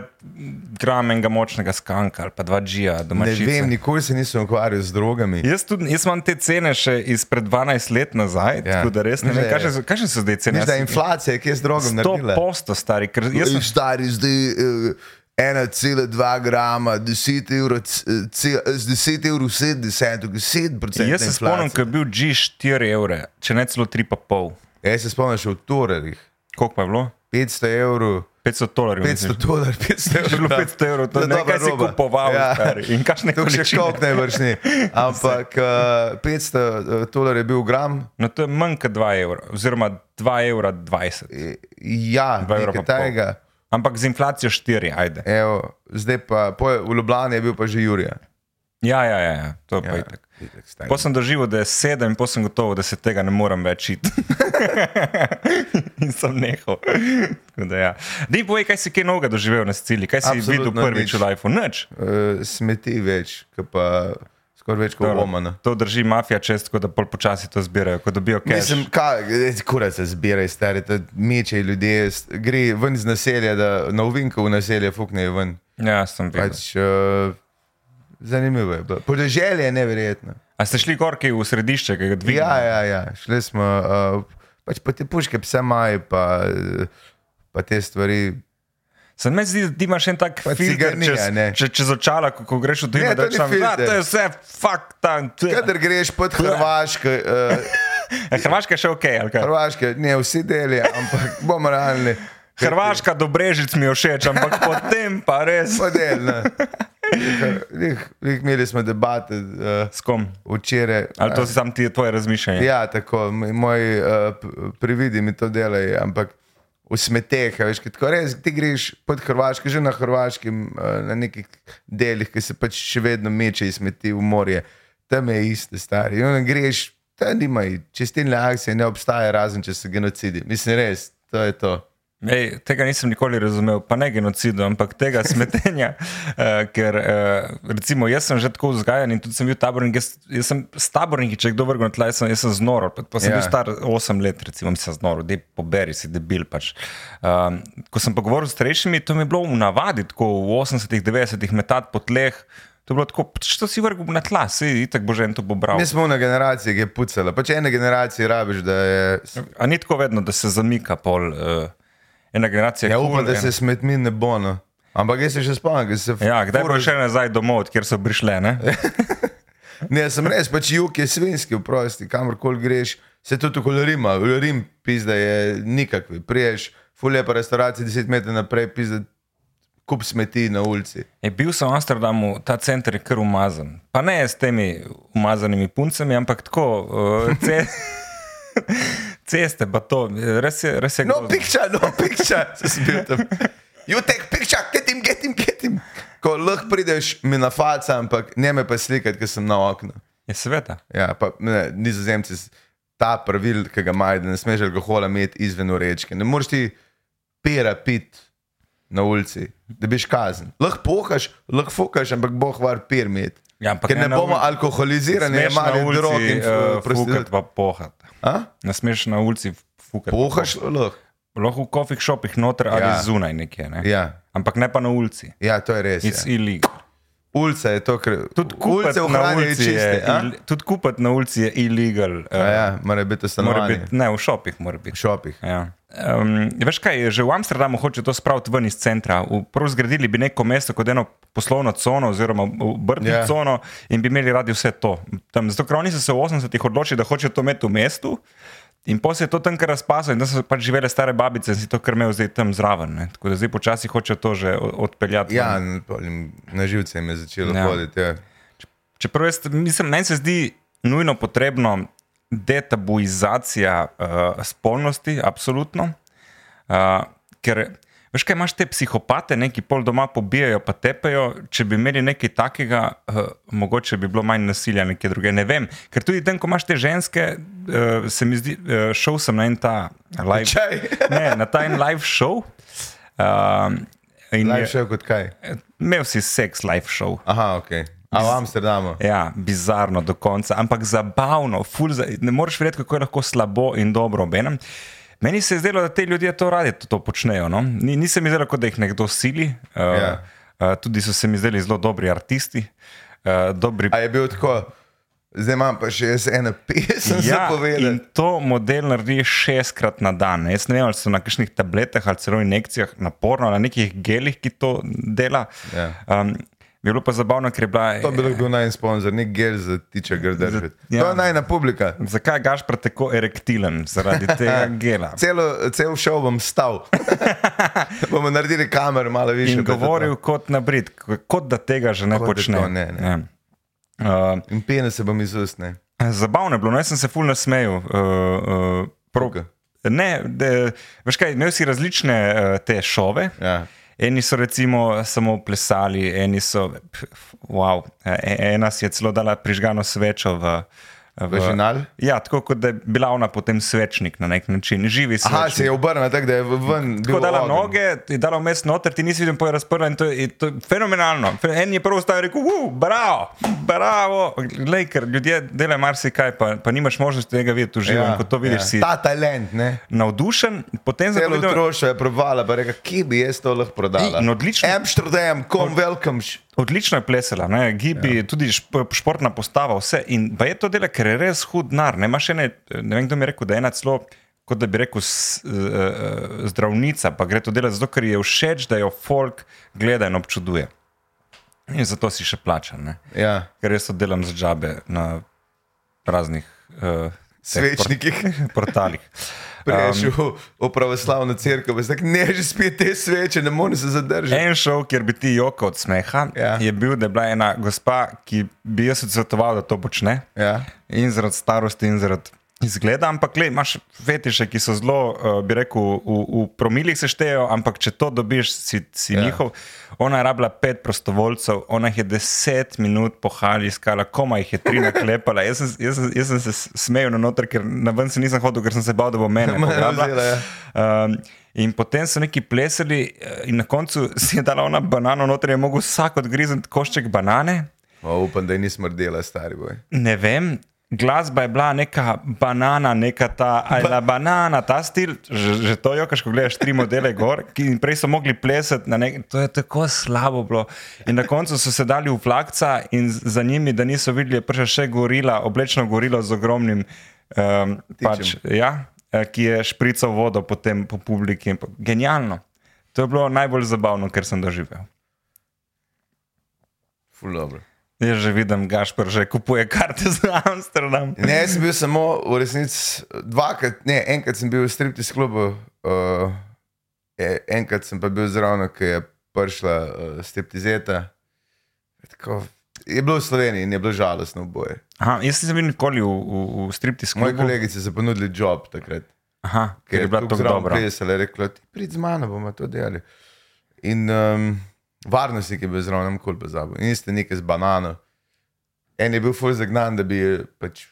[SPEAKER 1] gram enega močnega skanka ali pa dva G-ja
[SPEAKER 2] Ne
[SPEAKER 1] domačega.
[SPEAKER 2] vem, nikoli se nisem ukvarjal z drogami.
[SPEAKER 1] Jaz, tudi, jaz imam te cene še izpred 12 let nazaj, ja.
[SPEAKER 2] Ja.
[SPEAKER 1] tako da res ne
[SPEAKER 2] Veš,
[SPEAKER 1] vem,
[SPEAKER 2] da je-
[SPEAKER 1] kakšne so- kakšne so zdaj cene.
[SPEAKER 2] Veš, da je inflacija, ki je z drogom naredila.
[SPEAKER 1] posto stari, ker jaz
[SPEAKER 2] Ej,
[SPEAKER 1] sem
[SPEAKER 2] Stari zdaj eh, 1,2 grama, 10 evrov, c- eh, ce- eh, z 10 evrov 70, 10 procent.
[SPEAKER 1] Jaz se spomnim, ko je bil G 4 evre, če ne celo 3,5.
[SPEAKER 2] Ja, Jaz se spomnim še v Torerih.
[SPEAKER 1] Koliko pa je bilo?
[SPEAKER 2] 500 evrov,
[SPEAKER 1] 500 dolarjev. mislim.
[SPEAKER 2] 500 dolarjev, 500
[SPEAKER 1] <laughs>
[SPEAKER 2] evrov.
[SPEAKER 1] Že bilo
[SPEAKER 2] da.
[SPEAKER 1] 500 Mhm. evrov, to
[SPEAKER 2] je
[SPEAKER 1] je nekaj,
[SPEAKER 2] dobra
[SPEAKER 1] kar si
[SPEAKER 2] roba. Ja.
[SPEAKER 1] kupoval, stari, in kakšne
[SPEAKER 2] <laughs> To še
[SPEAKER 1] količine.
[SPEAKER 2] škop
[SPEAKER 1] <laughs>
[SPEAKER 2] najbrž ni. Ampak eh, 500 dolarjev je bil gram,
[SPEAKER 1] No, to je manj kot 2 evra, oziroma 2,20 evra. 20.
[SPEAKER 2] eh, ja,
[SPEAKER 1] Dva evra
[SPEAKER 2] nekaj
[SPEAKER 1] pa pol.
[SPEAKER 2] tajega.
[SPEAKER 1] Ampak z inflacijo 4, ajde.
[SPEAKER 2] Evo, zdaj pa, po, v Ljubljani je bil pa že Jurija.
[SPEAKER 1] Ja, ja, ja, ja, to je ja. pa itak.
[SPEAKER 2] itak stanje.
[SPEAKER 1] Potem sem doživel, da je sedem in potem sem gotovo, da se tega ne morem več iti. <laughs> in sem nehal. Tako Da, ja. Dej povej, kaj si kaj novega doživel na Siciliji, kaj si
[SPEAKER 2] Absolutno
[SPEAKER 1] videl prvič
[SPEAKER 2] nič.
[SPEAKER 1] v lifeu, nič.
[SPEAKER 2] Eh, smeti več, kot pa skoraj več kot no.
[SPEAKER 1] Dobro.
[SPEAKER 2] Romana.
[SPEAKER 1] To drži mafija čez, tako da pol počasi to zbirajo, ko dobijo kaj.
[SPEAKER 2] Mislim, kaj, kura se zbiraj, stari, te meče ljudje, s- gre ven iz naselja, da na uvinko v naselje fuknejo ven.
[SPEAKER 1] Ja, sem videl.
[SPEAKER 2] Pač, uh, zanimivo je bilo. Podeželje je neverjetno.
[SPEAKER 1] A ste šli gorki v središče, ki ga
[SPEAKER 2] Ja,
[SPEAKER 1] dvigajo?
[SPEAKER 2] ja, ja. šli smo, uh, pač pa te puške, pse maje, pa, eh, pa te stvari.
[SPEAKER 1] Se mi zdi, da imaš en tak
[SPEAKER 2] Pa
[SPEAKER 1] filter
[SPEAKER 2] ciganija,
[SPEAKER 1] čez,
[SPEAKER 2] ne.
[SPEAKER 1] čez, čez očala, ko, ko greš v tujino,
[SPEAKER 2] Ne, to
[SPEAKER 1] da
[SPEAKER 2] ni
[SPEAKER 1] rečeš, tam, "Ja,
[SPEAKER 2] filter."
[SPEAKER 1] to je vse, fuck tam. to je."
[SPEAKER 2] Kader greš pod Hrvaško, uh,
[SPEAKER 1] Ja, Hrvaška je še ok, ali kaj?
[SPEAKER 2] Hrvaške, ne vsi deli, ampak bomo realni.
[SPEAKER 1] Hrvaška do Brežic mi je všeč,
[SPEAKER 2] <laughs>
[SPEAKER 1] ampak potem pa res.
[SPEAKER 2] Modelno. Imeli smo debate uh,
[SPEAKER 1] S kom?
[SPEAKER 2] včeraj.
[SPEAKER 1] Ali to si sam ti je tvoje razmišljanje?
[SPEAKER 2] Ja, tako, m- moji uh, prividi mi to delajo, ampak v smeteh, a veš, kaj tako res, ti greš pod Hrvaško, že na Hrvaškem, uh, na nekih delih, ki se pač še vedno meče iz smeti v morje, tam je isto stari. In greš, tam nimajo, čistilne akcije ne obstaja, razen če so genocidi. Mislim, res, to je to.
[SPEAKER 1] Ej, tega nisem nikoli razumel, pa ne genocidu, ampak
[SPEAKER 2] <laughs>
[SPEAKER 1] tega smetenja. eh, ker, eh, recimo, jaz sem že tako vzgajan in tudi sem bil tabornik. Jaz, jaz sem s taborniki, če je kdo vrgel na tla, jaz sem, jaz sem znoro. Pa, pa sem
[SPEAKER 2] Ja.
[SPEAKER 1] yeah. bil star 8 let, recimo, sem znoro, da poberi si debil. Pač. Um, ko sem pa govoril s starejšimi, to mi je bilo v navadi, tako v 80-ih, 90-ih metati po tleh. To je bilo tako, "Pač, to si vrgel na tla, si itak bo že en to pobral.
[SPEAKER 2] Mi smo na generaciji, ki je pucala. Pač ena generacija rabiš, da je.
[SPEAKER 1] A ni tako vedno, da se zamika pol uh, ena generacija?
[SPEAKER 2] Ja,
[SPEAKER 1] je
[SPEAKER 2] upam,
[SPEAKER 1] cool,
[SPEAKER 2] da
[SPEAKER 1] ena-
[SPEAKER 2] se smetmi ne bo. No. Ampak jaz se še spomnim, ker se
[SPEAKER 1] Ja, kdaj
[SPEAKER 2] furaš-
[SPEAKER 1] boš šel nazaj domov, od kjer so prišle?
[SPEAKER 2] <laughs>
[SPEAKER 1] Ne?
[SPEAKER 2] Ne, sem res, pač jug je svinski, vprosti, kamorkoli greš, se tudi okoli Rima, Rim, pizda je nikakvi. Priješ, fulje pa restauracije 10 metrov naprej, pizda kup smeti na ulici.
[SPEAKER 1] Je bil sem v Amsterdamu, ta center je kar umazan. Pa ne s temi umazanimi puncami, ampak tako, uh, ce, <laughs> ceste, pa to, res je, res je
[SPEAKER 2] No,
[SPEAKER 1] grozno.
[SPEAKER 2] pikča, no, pikča, <laughs> se spil tam. You take picture, get him, get him, get him. Ko lahko prideš mi na faca, ampak ne me pa slikati, ker sem na oknu.
[SPEAKER 1] Je sveta.
[SPEAKER 2] Ja, pa ne, nizozemci, s- ta pravil, ki ga imajo, da ne smeš alkohola imeti izven urečke. Ne moreš ti pera pit na ulici, da biš kazen. Lahko pokaš, lahko fukaš, ampak boh var per imeti.
[SPEAKER 1] Ja, ampak
[SPEAKER 2] Ker
[SPEAKER 1] ne
[SPEAKER 2] ne
[SPEAKER 1] na
[SPEAKER 2] bomo
[SPEAKER 1] ulici.
[SPEAKER 2] alkoholizirani,
[SPEAKER 1] Smeš na
[SPEAKER 2] imamo drog
[SPEAKER 1] ulici
[SPEAKER 2] in
[SPEAKER 1] uh,
[SPEAKER 2] prosti.
[SPEAKER 1] fukati, pa pohati. Ne smeš na ulici fukati.
[SPEAKER 2] Pohaš lahko.
[SPEAKER 1] Lahko v kofih šopih noter ali
[SPEAKER 2] Ja.
[SPEAKER 1] zunaj nekje. Ne?
[SPEAKER 2] Ja.
[SPEAKER 1] Ampak ne pa na ulici.
[SPEAKER 2] ja, to je res.
[SPEAKER 1] It's
[SPEAKER 2] Ja.
[SPEAKER 1] ja. illegal.
[SPEAKER 2] Ulica je to, kar
[SPEAKER 1] Tudi kupiti na
[SPEAKER 2] ohranjajo
[SPEAKER 1] ulici je,
[SPEAKER 2] čiste, a?
[SPEAKER 1] il, tudi kupiti na ulici je illegal. Uh,
[SPEAKER 2] A Ja, mora biti
[SPEAKER 1] mora
[SPEAKER 2] stanovanje.
[SPEAKER 1] biti, ne, v šopih mora
[SPEAKER 2] V
[SPEAKER 1] biti.
[SPEAKER 2] šopih.
[SPEAKER 1] Ja. Um, veš kaj, že v Amsterdamu hoče to spraviti ven iz centra. V- Prav zgradili bi neko mesto kot eno poslovno cono, oziroma obrtno
[SPEAKER 2] Ja.
[SPEAKER 1] yeah. cono, in bi imeli radi vse to. Tam, zato, ker oni so se v 80-ih odločili, da hočejo to imeti v mestu, in potem se je to tam kar razpaslo, in tam so pač živele stare babice, in si to kar imel zdaj tam zraven. Ne. Tako da zdaj počasi hočejo to že o- odpeljati.
[SPEAKER 2] Ja,
[SPEAKER 1] ven.
[SPEAKER 2] in pol jim na živce jim je začelo
[SPEAKER 1] Ja.
[SPEAKER 2] hoditi. Ja.
[SPEAKER 1] Čeprav jaz, mislim, meni se zdi nujno potrebno detabuizacija uh, spolnosti, absolutno. Uh, ker veš, kaj imaš te psihopate, neki pol doma pobijajo, pa tepejo. Če bi imeli nekaj takega, uh, mogoče bi bilo manj nasilja, nekje druge. Ne vem. Ker tudi tam, ko imaš te ženske, uh, se mi zdi, uh, šel sem na en ta live,
[SPEAKER 2] Čaj.
[SPEAKER 1] ne, na ta en live show. Uh,
[SPEAKER 2] Live show kot kaj?
[SPEAKER 1] Imel si seks live show.
[SPEAKER 2] Aha, ok. A v Amsterdamu.
[SPEAKER 1] Ja, bizarno do konca, ampak zabavno, ful, za, ne moreš verjeti, kako je lahko slabo in dobro obenem. Meni se je zdelo, da te ljudje to radi to, to počnejo. No? Ni, ni se mi zdelo, kot da jih nekdo sili. Uh,
[SPEAKER 2] Ja.
[SPEAKER 1] uh, tudi so se mi zdeli zelo dobri aristi. Uh, dobri
[SPEAKER 2] A je bil tako, zdaj imam pa še jaz eno pesem ja, za
[SPEAKER 1] in
[SPEAKER 2] povedati.
[SPEAKER 1] to model naredi šestkrat na dan. Jaz ne vem, ali so na kakšnih tabletah ali celo injekcijah naporno, ali na nekih gelih, ki to dela.
[SPEAKER 2] Ja.
[SPEAKER 1] Um, je bilo pa zabavno, ker je bila.
[SPEAKER 2] To bi lahko bil naj sponzor, nek gel za tiče grdržati.
[SPEAKER 1] ja.
[SPEAKER 2] Ja. To je najna publika.
[SPEAKER 1] Zakaj je Gašpr tako erektilen zaradi
[SPEAKER 2] <laughs>
[SPEAKER 1] tega gela?
[SPEAKER 2] Celo, cel šov
[SPEAKER 1] <laughs>
[SPEAKER 2] bom stal. Bomo naredili kamer malo više.
[SPEAKER 1] In
[SPEAKER 2] pa je to to.
[SPEAKER 1] govoril kot na Brit, k- kot da tega že ne
[SPEAKER 2] Kot da
[SPEAKER 1] počne.
[SPEAKER 2] to ne, ne.
[SPEAKER 1] Ja. Uh,
[SPEAKER 2] In pene se bom izustne.
[SPEAKER 1] zabavno je bilo, no, jaz sem se fulno smejal. Uh, uh, prav-
[SPEAKER 2] Koga?
[SPEAKER 1] ne, de, veš kaj, imel si različne uh, eh, te šove.
[SPEAKER 2] Ja.
[SPEAKER 1] Eni so recimo samo plesali, eni so, pf, wow, e- ena si je celo dala prižgano svečo v.
[SPEAKER 2] V final?
[SPEAKER 1] Ja, tako kot da je bila ona potem svečnik na nek način, živi svečnik.
[SPEAKER 2] Aha, se je obrnil tako, da je v- ven.
[SPEAKER 1] Tako
[SPEAKER 2] bil
[SPEAKER 1] dala
[SPEAKER 2] ogenj.
[SPEAKER 1] noge, ti dala vmes noter, ti nisi videl, pa je razprla in to je, to je fenomenalno. Fe- En je prvo stavil in rekel, uh, bravo, bravo. Glej, ker ljudje delajo marsikaj, pa, pa nimaš možnosti tega videti v živo. Ja, ko to vidiš, ja. si
[SPEAKER 2] Ta talent, ne.
[SPEAKER 1] navdušen, potem
[SPEAKER 2] Celo
[SPEAKER 1] zavedel,
[SPEAKER 2] otroštvo je provala, pa je rekla, kje bi jaz to lahko prodala.
[SPEAKER 1] In odlično-
[SPEAKER 2] Amsterdam, kom welcome.
[SPEAKER 1] Odlično je plesala, ne? gibi, ja. tudi šp športna postava, vse. In pa je to delo, ker je res hud nar. Ne, ene, ne vem, kdo mi je rekel, da je ena celo, kot da bi rekel, s, uh, zdravnica, pa gre to delo zato, ker ji je všeč, da jo folk gleda in občuduje. In zato si še plača, ne?
[SPEAKER 2] Ja.
[SPEAKER 1] ker jaz to delam za džabe na raznih uh,
[SPEAKER 2] Svečnikih. <laughs>
[SPEAKER 1] portalih.
[SPEAKER 2] Prešel um, v pravoslavno crkvo, veš, tako ne že spije te sveče, ne moreš se zadržati.
[SPEAKER 1] En šov, kjer bi ti joko od smeha, ja.
[SPEAKER 2] Ja.
[SPEAKER 1] je bil, da je bila ena gospa, ki bi jaz odsvetoval, da to počne.
[SPEAKER 2] Ja.
[SPEAKER 1] in zaradi starosti, in zaradi izgleda. Ampak le, imaš fetiše, ki so zelo, uh, bi rekel, v, v promilih seštejejo, ampak če to dobiš, si, si ja.
[SPEAKER 2] Ja.
[SPEAKER 1] njihov. Ona je rabila pet prostovoljcev, ona jih je deset minut pohali, iskala, koma jih je tri
[SPEAKER 2] <laughs>
[SPEAKER 1] naklepala. Jaz sem, jaz sem, jaz sem se s- smejal na noter, ker na ven se nisem hodil, ker sem se bal, da bo
[SPEAKER 2] <laughs>
[SPEAKER 1] mene
[SPEAKER 2] Mene
[SPEAKER 1] pograbila.
[SPEAKER 2] vzela, ja.
[SPEAKER 1] Um, in potem so neki plesali, eh, in na koncu si je dala ona banano, noter je mogel vsak odgrizen košček banane.
[SPEAKER 2] O, upam, da ji ni smrdela, stari boj.
[SPEAKER 1] Ne vem. Glasba je bila neka banana, neka ta ajla banana, ta stil, že, že to jo, kaš, ko gledaš tri modele gor, ki jim prej so mogli plesati, na nek, to je tako slabo bilo. In na koncu so se dali v plakca in z- za njimi, da niso videli, je prišla še gorila, oblečno gorilo z ogromnim, um, pač, ja, eh, ki je šprical vodo potem po publiki. in po- Genialno. To je bilo najbolj zabavno, kar sem doživel.
[SPEAKER 2] Ful dobro.
[SPEAKER 1] Jaz že vidim, Gašpr že kupuje karte za Amsterdam.
[SPEAKER 2] Ne, jaz sem bil samo v resnici dvakrat, ne, enkrat sem bil v striptis klubu, uh, e, enkrat sem pa bil zraven, ki je prišla uh, striptizeta. Tako, je bilo v Sloveniji in je bilo žalostno oboje.
[SPEAKER 1] Aha, jaz nisem bil nikoli v, v, v striptizu.
[SPEAKER 2] Moji kolegici so ponudili job takrat.
[SPEAKER 1] Aha, ker je bila tako dobra.
[SPEAKER 2] Plesala, je rekla, ti prid z mano, bomo to delali. In um, varnostnik je bil zraven, nam kul pozabil. In ste nekaj z banano. En je bil ful zagnan, da bi pač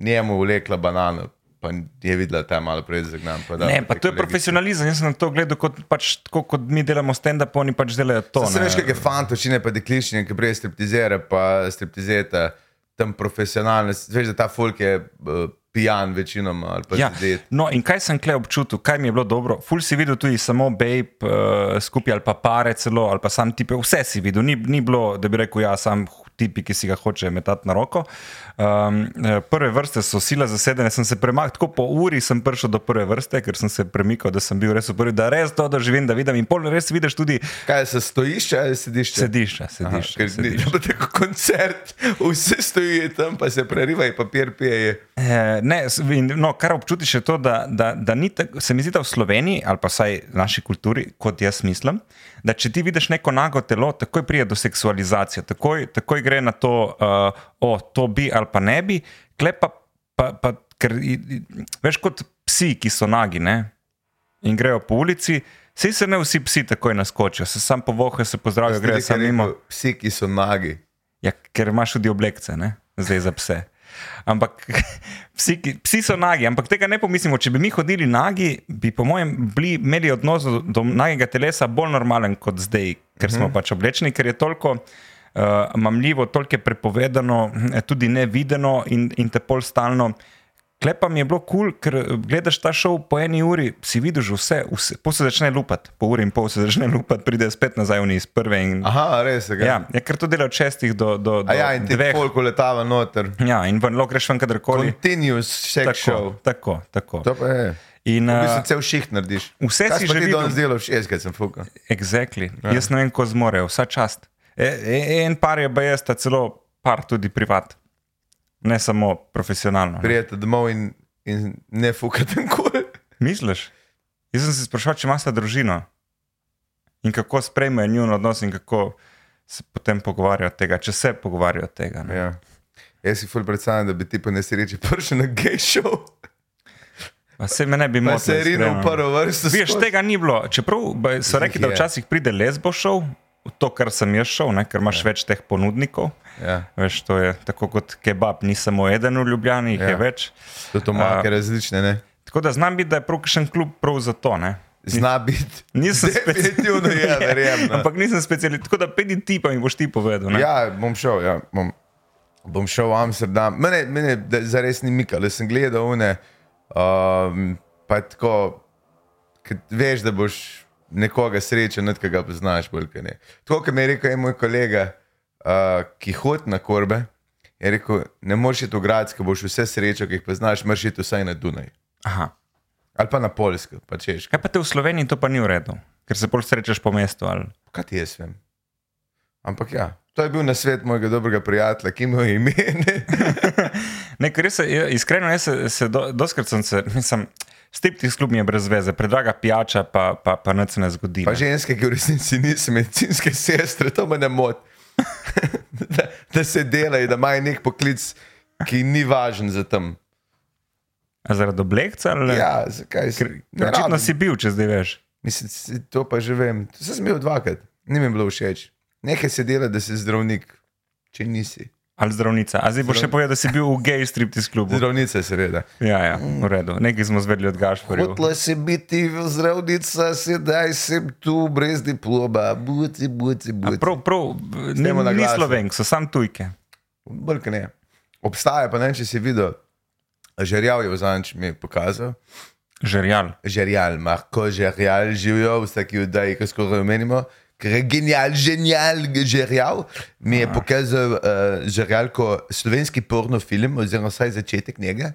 [SPEAKER 2] njemu vlekla banano. Pa je videla ta malo prej zagnan. Pa da,
[SPEAKER 1] Ne, pa to je profesionalizem. Jaz sem na to gledal kot, pač, tako, kot mi delamo stand-up, oni pač delajo to.
[SPEAKER 2] Se
[SPEAKER 1] ne.
[SPEAKER 2] veš, kakšne fantočine, pa dekličine, ki prej striptizere, pa striptizeta, tam profesionalne. Saj Veš, da ta folk je eh, pijan večinoma. ali pa
[SPEAKER 1] Ja.
[SPEAKER 2] zadet.
[SPEAKER 1] No, in kaj sem kle občutil, kaj mi je bilo dobro. Ful si videl tudi samo babe, uh, skupaj ali pa pare celo, ali pa sam tipe, vse si videl. Ni, ni bilo, da bi rekel, ja, sam tipi, ki si ga hoče metati na roko. Um, eh, prve vrste so sila zasedene, sem se premaknil, tako po uri sem prišel do prve vrste, ker sem se premikal, da sem bil res v prvi, da res to doživim, da vidim. In pol res vidiš tudi
[SPEAKER 2] Kaj se stojišče ali sedišče?
[SPEAKER 1] sedišče, sedišče.
[SPEAKER 2] Ker ni
[SPEAKER 1] sedišče.
[SPEAKER 2] bilo <laughs> tako koncert, vsi stojijo tam, pa se preriva in papir pije.
[SPEAKER 1] Eh, Ne, s- in, no, kar občutiš je to, da, da, da ni tako, se mi zdi, da v Sloveniji ali pa vsaj v naši kulturi, kot jaz mislim, da če ti vidiš neko nago telo, takoj pride do seksualizacije, takoj, takoj gre na to, uh, o, to bi ali pa ne bi, klepa pa, pa ker, i- i- veš kot psi, ki so nagi ne? in grejo po ulici. Vsi se ne vsi psi takoj naskočijo, se sam povohajo, se pozdravijo, grejo
[SPEAKER 2] Nekaj
[SPEAKER 1] samo mimo.
[SPEAKER 2] rekel, Vsi, ki so nagi.
[SPEAKER 1] Ja, ker imaš tudi oblekce, ne? zdaj za pse. Ampak <laughs> psi, ki- psi so nagi, ampak tega ne pomislimo. Če bi mi hodili nagi, bi po mojem bili, imeli odnos do, do nagega telesa bolj normalen kot zdaj, ker smo pač oblečeni, ker je toliko uh, mamljivo, toliko je prepovedano, eh, tudi nevideno in, in te pol stalno. Klepa mi je bilo kul, cool, ker eh, gledaš ta šov po eni uri, si vidiš že vse, vse po se začne lupati, po uri in pol se začne lupati, pride spet nazaj v njih iz prve in
[SPEAKER 2] Aha, res je.
[SPEAKER 1] Ja, ja, ker to dela od šestih do, do, do
[SPEAKER 2] A ja, in ti
[SPEAKER 1] dveh.
[SPEAKER 2] koliko letava noter.
[SPEAKER 1] Ja, in ven, lahko greš ven kadarkoli.
[SPEAKER 2] Continuous sex show.
[SPEAKER 1] Tako, tako. tako.
[SPEAKER 2] To pa je.
[SPEAKER 1] In,
[SPEAKER 2] V
[SPEAKER 1] uh,
[SPEAKER 2] bistvu cel šiht narediš.
[SPEAKER 1] Vse
[SPEAKER 2] Kaj
[SPEAKER 1] si
[SPEAKER 2] si
[SPEAKER 1] že
[SPEAKER 2] že
[SPEAKER 1] videl.
[SPEAKER 2] danes delal, šest, kaj sem fukal.
[SPEAKER 1] exactly. ja. Jaz ne vem, ko zmorejo, vsa čast. E, e, en par je BS, ta celo par tudi privat, ne samo profesionalno. Ne.
[SPEAKER 2] Prijete domov in, in ne fukate nikoli.
[SPEAKER 1] Misliš? Jaz sem se sprašoval, če imaš družino in kako sprejmejo njun odnos in kako se potem pogovarjajo od tega, če se pogovarjajo od tega. ne.
[SPEAKER 2] Ja. Jaz si ful predstavljam, da bi ti po nesreči prišel na gej show.
[SPEAKER 1] Pa se me ne bi mogel.
[SPEAKER 2] se je rinil
[SPEAKER 1] ja.
[SPEAKER 2] v prvo vrsto.
[SPEAKER 1] Viš,
[SPEAKER 2] skozi.
[SPEAKER 1] tega ni bilo. Čeprav ba- so
[SPEAKER 2] Zdaj
[SPEAKER 1] rekli, da
[SPEAKER 2] je.
[SPEAKER 1] včasih pride lesbo šov, to, kar sem jaz šel, ne, ker imaš več teh ponudnikov.
[SPEAKER 2] Ja.
[SPEAKER 1] Veš, to je tako kot kebab, ni samo eden v Ljubljani, jih
[SPEAKER 2] Ja.
[SPEAKER 1] je več.
[SPEAKER 2] To so
[SPEAKER 1] Eh.
[SPEAKER 2] make različne, ne?
[SPEAKER 1] Tako da znam biti, da je prav kakšen klub prav za to. Ne?
[SPEAKER 2] Zna biti.
[SPEAKER 1] Nisem <laughs>
[SPEAKER 2] Definitivno je,
[SPEAKER 1] speci-
[SPEAKER 2] verjamem, no.
[SPEAKER 1] Ja. Ampak nisem specialist, tako da pedi ti pa mi boš ti povedal. Ne?
[SPEAKER 2] Ja, bom šel, ja, bom, bom šel v Amsterdam. Mene, mene da- zares ni mikalo, sem gledal une. Um, pa tako, ke veš, da boš nekoga srečen, nekaj ga poznaš, bolj kot ne. Tako, kot mi je rekel en moj kolega, uh, ki hod na korbe, je rekel, ne moreš iti v grad, ker boš vse srečo, ki jih poznaš, moraš iti vsaj na Dunaj.
[SPEAKER 1] Aha.
[SPEAKER 2] Ali pa na Polsko, pa češ.
[SPEAKER 1] Kaj pa te v Sloveniji to pa ni v redu, ker se bolj srečaš po mestu. Ali...
[SPEAKER 2] Kaj ti jaz vem? Ampak ja, to je bil na svet mojega dobrega prijatelja, ki mu je ime. ne.
[SPEAKER 1] Ne, ker jaz se, ja, iskreno, jaz se, se do, doskrat sem se, mislim, steptih sklub mi je brez veze, predraga pijača, pa, pa, pa nič se ne zgodi.
[SPEAKER 2] Pa
[SPEAKER 1] ne.
[SPEAKER 2] ženske, ki v resnici niso medicinske sestre, to me ne moti. <laughs> da, da se delajo, da imajo nek poklic, ki ni važen za tam.
[SPEAKER 1] A Zaradi oblekca ali
[SPEAKER 2] Ja, zakaj se
[SPEAKER 1] Ker Očitno si bil, če zdaj veš.
[SPEAKER 2] Mislim, si- to pa že vem. To sem imel dvakrat, ni mi bilo všeč. Nekaj se dela, da si zdravnik, če nisi.
[SPEAKER 1] Ali zdravnica. A zdaj boš še povedal, da si bil v gej striptiz klubu.
[SPEAKER 2] Zdravnica, seveda.
[SPEAKER 1] Ja, ja, v redu. Nekaj smo zvedeli od Gašporja.
[SPEAKER 2] Hotla si biti zdravnica, sedaj sem tu brez diploma, buci, buci, buci.
[SPEAKER 1] Prav, prav, ni,
[SPEAKER 2] Snemo na
[SPEAKER 1] ni
[SPEAKER 2] glas.
[SPEAKER 1] slovenk, so sam tujke.
[SPEAKER 2] Bolj kot ne. Obstaja pa ne, če si videl, žerjav je vzanč mi je pokazal.
[SPEAKER 1] Žerjal.
[SPEAKER 2] Žerjal, Marko, žerjal živijo, vsaki vdaj, ko skoraj omenimo. Ker je genijal, genijal, žerjal. Mi je pokazal uh, žerjal kot slovenski porno film, oziroma vsaj začetek njega,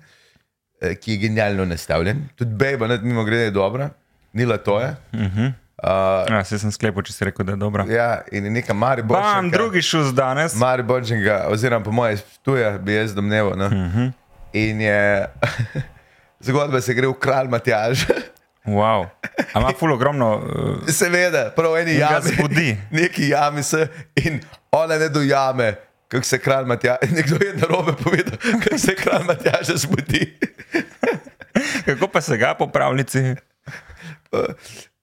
[SPEAKER 2] uh, ki je genialno nastavljen. Tudi Bejba, nad mimo grede, je dobra, Nila Toja. Uh -huh. uh,
[SPEAKER 1] Ja, se sem sklepal, če si rekel, da je dobro.
[SPEAKER 2] ja, in je neka Mariborčanka.
[SPEAKER 1] Bam, drugi šus danes.
[SPEAKER 2] Mari Borčenga, oziroma po mojem, tuja bi jaz domneval. No? Uh
[SPEAKER 1] Mhm.
[SPEAKER 2] -huh. In je <laughs> zgodba se gre v kralj Matjaž, <laughs>
[SPEAKER 1] Wow. A ima ful ogromno. Uh,
[SPEAKER 2] seveda, prav eni
[SPEAKER 1] ga
[SPEAKER 2] jami,
[SPEAKER 1] zbudi.
[SPEAKER 2] <laughs> neki jami se in ona ne dojame. Kako se kralj Matjaž, <laughs> nekdo je na robe povedal, <laughs> kako se kralj Matjaž zbudi. <laughs>
[SPEAKER 1] kako pa se ga po pravljici?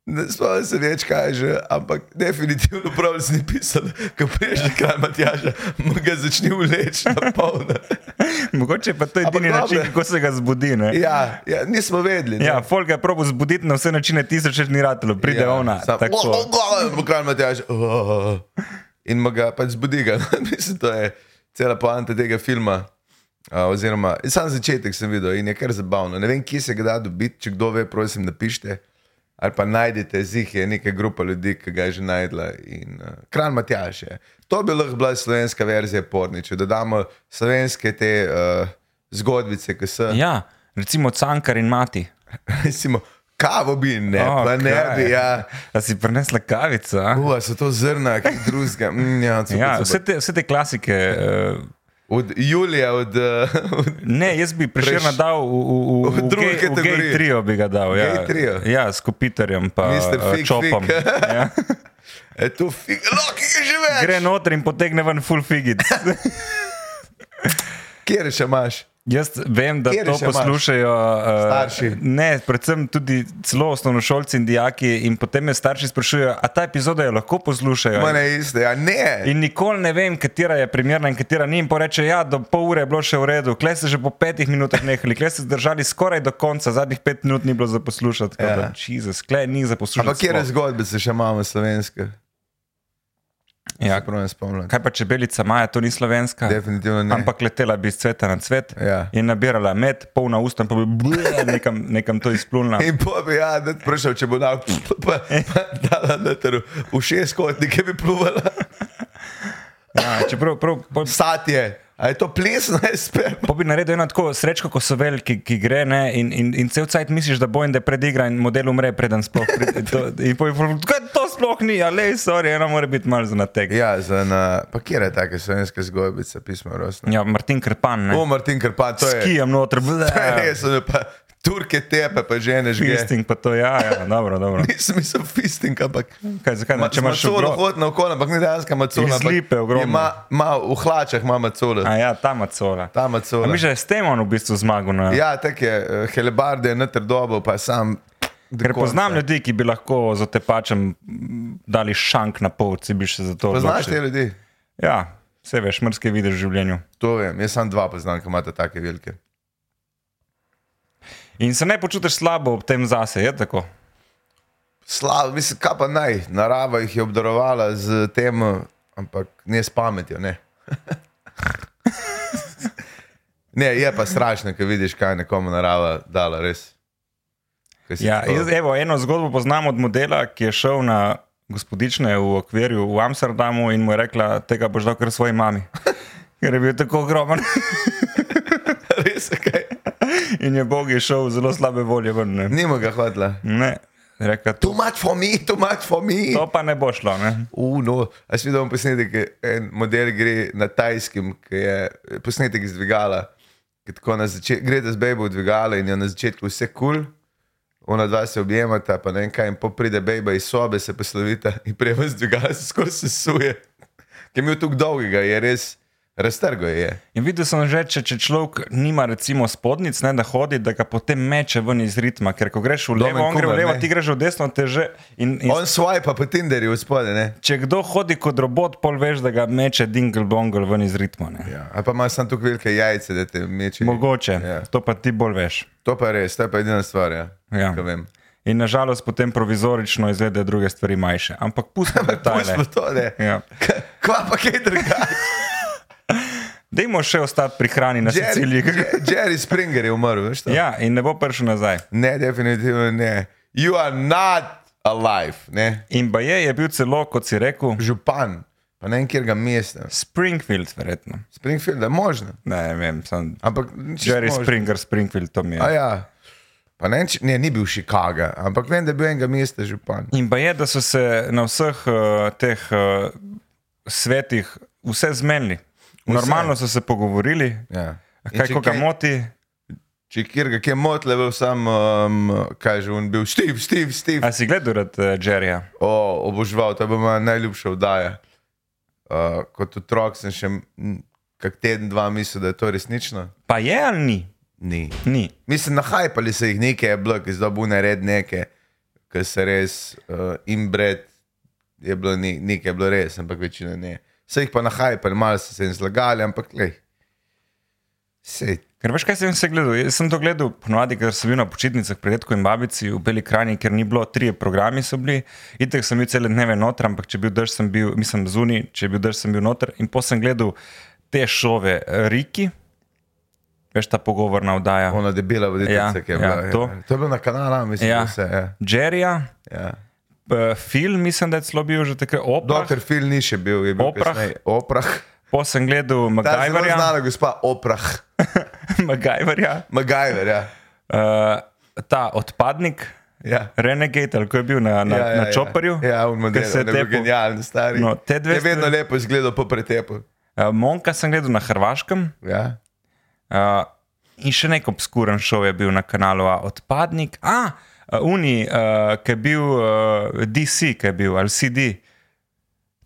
[SPEAKER 2] Ne spomnim se več, kaj je že, ampak definitivno prav si napisal, ko priješ na kralj Matjaž, mu ga začne vleči na polno. <laughs>
[SPEAKER 1] Mogoče pa to je edini
[SPEAKER 2] Ampak
[SPEAKER 1] način,
[SPEAKER 2] dobro.
[SPEAKER 1] kako se ga zbudi. Ne?
[SPEAKER 2] Ja, ja, nismo vedeli. ne.
[SPEAKER 1] Ja, Folk ga je probo zbuditi na vse načine, tisoče ni ratelo, pride ja, ona.
[SPEAKER 2] Sam,
[SPEAKER 1] tako.
[SPEAKER 2] oh, oh, oh, Pokraj Matjaž. Oh. In ma ga pač zbudi ga. <laughs> Mislim, to je cela poanta tega filma. Uh, oziroma, sam začetek sem videl in je kar zabavno. Ne vem, kje se ga da dobiti, če kdo ve, prosim, napišite. Ali pa najdete, zih je neka grupa ljudi, ki ga je že najdla. In, uh, Kran Matjaž je. To bi lahko bila slovenska verzija porniča, da damo slovenske te uh, zgodbice, ki so.
[SPEAKER 1] Ja, recimo Cankar in mati.
[SPEAKER 2] <laughs> Recimo, kavo bi ne,
[SPEAKER 1] O,
[SPEAKER 2] oh, pa ne
[SPEAKER 1] kaj.
[SPEAKER 2] bi. Ja.
[SPEAKER 1] A si prinesla kavico? a?
[SPEAKER 2] Uva, so to zrna, ki drugega. Mm, ja, cupr,
[SPEAKER 1] Ja,
[SPEAKER 2] cupr.
[SPEAKER 1] vse te, vse te klasike. eh,
[SPEAKER 2] Od Julija, od, eh, od
[SPEAKER 1] Ne, jaz bi preširno
[SPEAKER 2] Preš-
[SPEAKER 1] dal v, v, v,
[SPEAKER 2] v
[SPEAKER 1] v,
[SPEAKER 2] drugo
[SPEAKER 1] gej- v gej
[SPEAKER 2] kategorijo.
[SPEAKER 1] trio, bi ga dal. Ja,
[SPEAKER 2] Gej trio.
[SPEAKER 1] ja s Kopiterjem, pa
[SPEAKER 2] Mr.
[SPEAKER 1] eh,
[SPEAKER 2] Fig
[SPEAKER 1] Čopom.
[SPEAKER 2] Fig. <laughs>
[SPEAKER 1] Ja.
[SPEAKER 2] e, tu figura, ki je že več.
[SPEAKER 1] Gre noter in potegne ven full
[SPEAKER 2] <laughs>
[SPEAKER 1] figic.
[SPEAKER 2] Kjer še imaš?
[SPEAKER 1] Jaz vem, da
[SPEAKER 2] Kjer
[SPEAKER 1] to
[SPEAKER 2] še imaš?
[SPEAKER 1] poslušajo uh,
[SPEAKER 2] Starši.
[SPEAKER 1] Ne, predvsem tudi celo osnovnošolci in dijaki. In potem me starši sprašujejo, a ta epizoda jo lahko poslušajo.
[SPEAKER 2] Mane iste, ja ne.
[SPEAKER 1] In nikoli ne vem, katera je primerna in katera ni. In pa reče, ja, do pol ure je bilo še v redu, kle ste že po petih minutah nehali, kle ste zdržali skoraj do konca, zadnjih pet minut ni bilo za poslušati.
[SPEAKER 2] Ja.
[SPEAKER 1] Ja. Jezus, kle ni za poslušati.
[SPEAKER 2] Ampak kjer
[SPEAKER 1] sploh.
[SPEAKER 2] zgodbe se še imamo slovenske?
[SPEAKER 1] Ja.
[SPEAKER 2] Se prav ne spomnim.
[SPEAKER 1] Kaj pa čebelica Maja, to ni slovenska.
[SPEAKER 2] Definitivno ne.
[SPEAKER 1] Ampak letela bi iz cveta na cvet
[SPEAKER 2] Ja.
[SPEAKER 1] in nabirala med, polna usta, in pa bi bleh, nekam, nekam to
[SPEAKER 2] <laughs>
[SPEAKER 1] izplunila.
[SPEAKER 2] In pobi, ja, da ti vprašal, če bo dal, pa, pa dala na teru, v šestkotnike bi pluvala.
[SPEAKER 1] Ja, čeprav, prav, pol,
[SPEAKER 2] Satje, a je to plesno, je sperma.
[SPEAKER 1] Po bi naredil eno tako srečko, ko so veliki, ki gre ne, in, in, in cel cajt misliš, da bo in da je predigra in model umre, preden sploh pride. To, in poj, kaj to sploh ni, ali je, sorry, ena mora biti malo za nateg.
[SPEAKER 2] Ja, za na, pa kjer je take slovenske zgodbice, pismo rosno.
[SPEAKER 1] Ja, Martin Krpan, ne.
[SPEAKER 2] O, Martin Krpan, <laughs> to je.
[SPEAKER 1] S kijem noter,
[SPEAKER 2] To je
[SPEAKER 1] bleh.
[SPEAKER 2] res, ne, pa Turke tepe, pa ženeš gej.
[SPEAKER 1] Ehm. Fisting, pa to ja, ja, dobro, dobro.
[SPEAKER 2] <laughs> Nisem mislil fisting, ampak
[SPEAKER 1] Kaj, zakaj, ne? če imaš
[SPEAKER 2] solo
[SPEAKER 1] ogrom-
[SPEAKER 2] hod na okol, ampak ni dejansko macula.
[SPEAKER 1] Iz lipe ogromno.
[SPEAKER 2] Ima, ima, v hlačah ima macula.
[SPEAKER 1] A ja, ta macola.
[SPEAKER 2] Ta macula.
[SPEAKER 1] Mi že s tem on v bistvu zmagal na.
[SPEAKER 2] Ja, tak je, Helebarde je natr dobo, pa je sam. do
[SPEAKER 1] Ker
[SPEAKER 2] konca.
[SPEAKER 1] poznam ljudi, ki bi lahko za tepačem m, dali šank na polci, bi še za to
[SPEAKER 2] Poznaš te
[SPEAKER 1] odločili.
[SPEAKER 2] ljudi?
[SPEAKER 1] Ja, vse veš, mrske vidiš v življenju.
[SPEAKER 2] To vem, jaz sem dva poznam, ki imata take velike.
[SPEAKER 1] In se ne počutiš slabo ob tem zase, je tako?
[SPEAKER 2] Slabo, mislim, kaj pa naj, narava jih je obdarovala z tem, ampak ne s pametjo. Ne, <laughs> ne je pa strašno, ko vidiš, kaj je nekomu narava dala, res. Ko si
[SPEAKER 1] Ja,
[SPEAKER 2] tako-
[SPEAKER 1] jaz, evo, eno zgodbo poznam od modela, ki je šel na gospodične v okvirju v Amsterdamu in mu je rekla, tega boš dal kar svoji mami. <laughs> Ker je bil tako ogromen
[SPEAKER 2] <laughs>
[SPEAKER 1] <laughs>
[SPEAKER 2] res je kaj.
[SPEAKER 1] in je Bog je šel zelo slabe volje ven. Ne,
[SPEAKER 2] Nima ga hodila.
[SPEAKER 1] ne. je Rekla, to,
[SPEAKER 2] Too much for me, too much for me.
[SPEAKER 1] to pa ne bo šlo. Ne?
[SPEAKER 2] Uno, a si videl en posnetek, ke en model gre na tajskem, ki je posnetek iz dvigala. ke tako na zače- Gre da z bejbo v dvigalo in je na začetku vse kul, cool, ona dva se objemata, pa ne vem kaj, in po pride bejba iz sobe, se poslovita <laughs> in prejme z dvigala, se skoraj sesuje. Ki je imel tako dolgega, je res raztrgo je. je.
[SPEAKER 1] In videl sem že, če, če človek nima recimo spodnic, ne, da hodi, da ga potem meče ven iz ritma. Ker ko greš v levo,
[SPEAKER 2] Domen
[SPEAKER 1] on gre v
[SPEAKER 2] Kumer,
[SPEAKER 1] levo,
[SPEAKER 2] ne.
[SPEAKER 1] ti greš v desno, te že. In, in
[SPEAKER 2] On swipe pa po Tinderju od spodaj, ne?
[SPEAKER 1] če kdo hodi kot robot, pol veš, da ga meče dingle bongle ven iz ritma. Ne?
[SPEAKER 2] Ja. Ali pa ima samo tako velike jajce, da te meče.
[SPEAKER 1] Mogoče,
[SPEAKER 2] Ja.
[SPEAKER 1] ja. to pa ti bolj veš.
[SPEAKER 2] To pa je res, to je pa edina stvar, ja.
[SPEAKER 1] Ja.
[SPEAKER 2] ko vem.
[SPEAKER 1] In nažalost potem provizorično izgleda druge stvari manjše. Ampak pustimo detajle.
[SPEAKER 2] <laughs> Pustimo to, ne.
[SPEAKER 1] Ja.
[SPEAKER 2] Kva pa kaj drugače?
[SPEAKER 1] Dajmo še ostati pri hrani na
[SPEAKER 2] Jerry,
[SPEAKER 1] Siciliji.
[SPEAKER 2] <laughs> Je- Jerry Springer je umrl, veš to?
[SPEAKER 1] Ja, in ne bo prišel nazaj.
[SPEAKER 2] Ne, definitivno ne. You are not alive, ne?
[SPEAKER 1] In Baje je bil celo, kot si rekel,
[SPEAKER 2] Župan, pa ne vem, kjer ga mesta.
[SPEAKER 1] Springfield, verjetno.
[SPEAKER 2] Springfield, da možno.
[SPEAKER 1] Ne vem, sem
[SPEAKER 2] Ampak čisto
[SPEAKER 1] Jerry
[SPEAKER 2] možno.
[SPEAKER 1] Springer, Springfield, to mi
[SPEAKER 2] A
[SPEAKER 1] je.
[SPEAKER 2] ja. Pa ne, vem, če- ne, ni bil Chicago, ampak vem, da je bil enega mesta župan.
[SPEAKER 1] In Baje, da so se na vseh uh, teh uh, svetih vse zmenili. Normalno so se pogovorili,
[SPEAKER 2] Ja. In
[SPEAKER 1] kaj
[SPEAKER 2] če
[SPEAKER 1] koga
[SPEAKER 2] kaj-
[SPEAKER 1] moti.
[SPEAKER 2] Če kjer ga kje motle, bil sam, um, kaj že on bil, Steve, Steve, Steve.
[SPEAKER 1] A si gledal rad uh, Jerryja?
[SPEAKER 2] O, obožval, to je bila moja najljubša oddaja. Uh, kot otrok sem še mm, kak teden, dva mislil, da je to resnično.
[SPEAKER 1] Pa je ali ni?
[SPEAKER 2] Ni.
[SPEAKER 1] Ni.
[SPEAKER 2] Mislim, nahajpali so jih nekaj, je bilo, ki so bune red neke, ki so res uh, inbred, je bilo ne, nekaj, je bilo res, ampak večina ne. Se jih pa nahajpali, malo so se jim zlagali, ampak le. Sej,
[SPEAKER 1] Ker veš, kaj sem se gledal? Jaz sem to gledal ponovadi, ker sem bil na počitnicah pri Redku in Babici v Beli krajini, ker ni bilo, tri programi so bili. Itek sem bil cele dneve noter, ampak če je bil drž, sem bil, mislim, zunaj, če je bil drž, sem bil noter. In potem sem gledal te šove eh, Riki, veš ta pogovorna oddaja,
[SPEAKER 2] ona debela voditeljica,
[SPEAKER 1] Ja,
[SPEAKER 2] ki
[SPEAKER 1] ja,
[SPEAKER 2] je bila.
[SPEAKER 1] to.
[SPEAKER 2] ja. to je bilo na kanalu, mislim,
[SPEAKER 1] Ja.
[SPEAKER 2] ja. vse. Ja,
[SPEAKER 1] Jerryja,
[SPEAKER 2] ja.
[SPEAKER 1] eh, Phil, mislim, da je celo bil že tako opra.
[SPEAKER 2] Dokler Phil ni še bil, je bil
[SPEAKER 1] Oprah.
[SPEAKER 2] kasneje. Oprah.
[SPEAKER 1] Potem sem gledal
[SPEAKER 2] Ta je zelo
[SPEAKER 1] MacGyverja,
[SPEAKER 2] znana gospa Oprah.
[SPEAKER 1] <laughs> MacGyverja
[SPEAKER 2] Magajver, ja.
[SPEAKER 1] eh, ta odpadnik.
[SPEAKER 2] ja.
[SPEAKER 1] Renegade, ali ko je bil na, na,
[SPEAKER 2] Ja, ja,
[SPEAKER 1] na čoparju,
[SPEAKER 2] Ja, ja on model,
[SPEAKER 1] ki se je
[SPEAKER 2] on je bil
[SPEAKER 1] tepel.
[SPEAKER 2] genialen, stari.
[SPEAKER 1] No, te dve
[SPEAKER 2] je vedno
[SPEAKER 1] stvari-
[SPEAKER 2] lepo izgledal po pretepu.
[SPEAKER 1] Uh, Monka sem gledal na Hrvaškem
[SPEAKER 2] Ja.
[SPEAKER 1] uh, in še nek obskuren šov je bil na kanalu A, Odpadnik. A, uh, Uni, uh, ki je bil uh, DC, ki je bil, ali CD.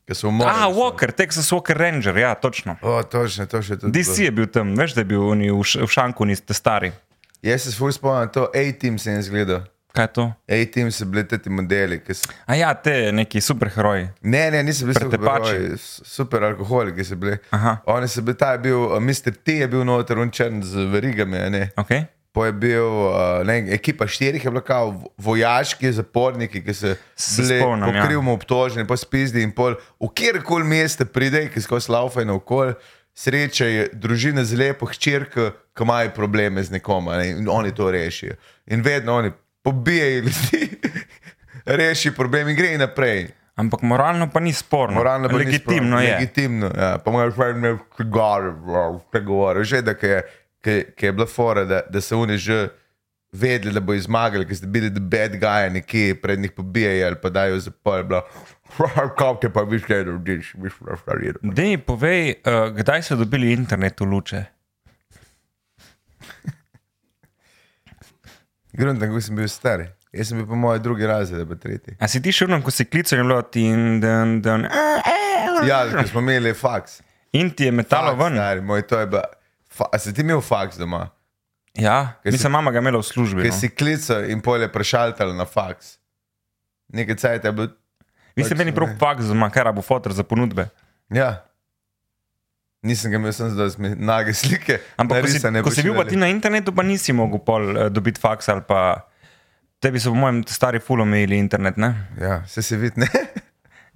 [SPEAKER 2] Ker so umorili.
[SPEAKER 1] A, Walker, Texas Walker Ranger, ja, točno.
[SPEAKER 2] O, točno, to še tudi. bilo.
[SPEAKER 1] DC je bil tam, veš, da je bil uni, v, š, v Šanku, niste stari.
[SPEAKER 2] Jaz se ful spomnim, to A-team sem izgledal.
[SPEAKER 1] Kaj je to?
[SPEAKER 2] A-team so bili ti modeli. ki so-
[SPEAKER 1] A ja, te neki superheroji.
[SPEAKER 2] Ne, ne, nisem bil
[SPEAKER 1] Pretepači.
[SPEAKER 2] superheroji, super alkoholiki so bili.
[SPEAKER 1] Aha.
[SPEAKER 2] Oni so bili, ta je bil, uh, Mr. T je bil noter, on črn z verigami, a ne.
[SPEAKER 1] Okay.
[SPEAKER 2] Po je bil, uh, ne, vem, ekipa štirih je bila kao vo- vojaški zaporniki, ki so
[SPEAKER 1] Se
[SPEAKER 2] bili
[SPEAKER 1] spomnim, ja.
[SPEAKER 2] pokrivmo obtoženi, pa spizdi in pol. V kjerkoli mesto pride, ki skozi laufa in okol, sreča je družina z lepo hčerko, ki imajo probleme z nekom ne, in oni to rešijo. In vedno oni pobijajo ljudi, <laughs> rešijo problem in gre naprej.
[SPEAKER 1] Ampak moralno pa ni sporno.
[SPEAKER 2] Moralno pa ni
[SPEAKER 1] Legitimno
[SPEAKER 2] sploh-
[SPEAKER 1] je.
[SPEAKER 2] Legitimno, ja. Pa moraš reči, da je gore, vse govori. Že da ke je, ke- ke je bila fora, da, da so oni že vedeli, da bo izmagali, ker ste bili the bad guy, neki pred njih pobijajo ali pa dajo zapor. Kaj te pa vi še narediš, vi še narediš.
[SPEAKER 1] Dej mi povej, uh, kdaj so dobili internet v luče?
[SPEAKER 2] Grunta, kako sem bil star. Jaz sem bil po mojem drugi razred, ali pa tretji.
[SPEAKER 1] A si ti še vedno, ko si klical, je bilo tin, dan, dan, a, a, a.
[SPEAKER 2] Ja, ko smo imeli faks.
[SPEAKER 1] in ti je metalo
[SPEAKER 2] Faks, ja.
[SPEAKER 1] ven.
[SPEAKER 2] stari moj, to je bila. Fa, a si ti imel faks doma?
[SPEAKER 1] Ja,
[SPEAKER 2] Kaj si-
[SPEAKER 1] mislim, mama ga je imela v službi.
[SPEAKER 2] Ker
[SPEAKER 1] no.
[SPEAKER 2] si klical in polje prešaltal na faks. Nekaj cajt je bil.
[SPEAKER 1] Vi ste
[SPEAKER 2] Pač,
[SPEAKER 1] meni prav
[SPEAKER 2] ne.
[SPEAKER 1] faks, zma, kar bo fotor za ponudbe.
[SPEAKER 2] Ja. Nisem ga imel, sem zdaj mi nage slike.
[SPEAKER 1] Ampak ko si,
[SPEAKER 2] narisane
[SPEAKER 1] ko si bil pa ti
[SPEAKER 2] pošiljali.
[SPEAKER 1] na internetu, pa nisi mogel pol eh, dobiti faks ali pa. Tebi so, po mojem, stari fulom imeli internet, ne?
[SPEAKER 2] Ja, se se vidi, ne? <laughs>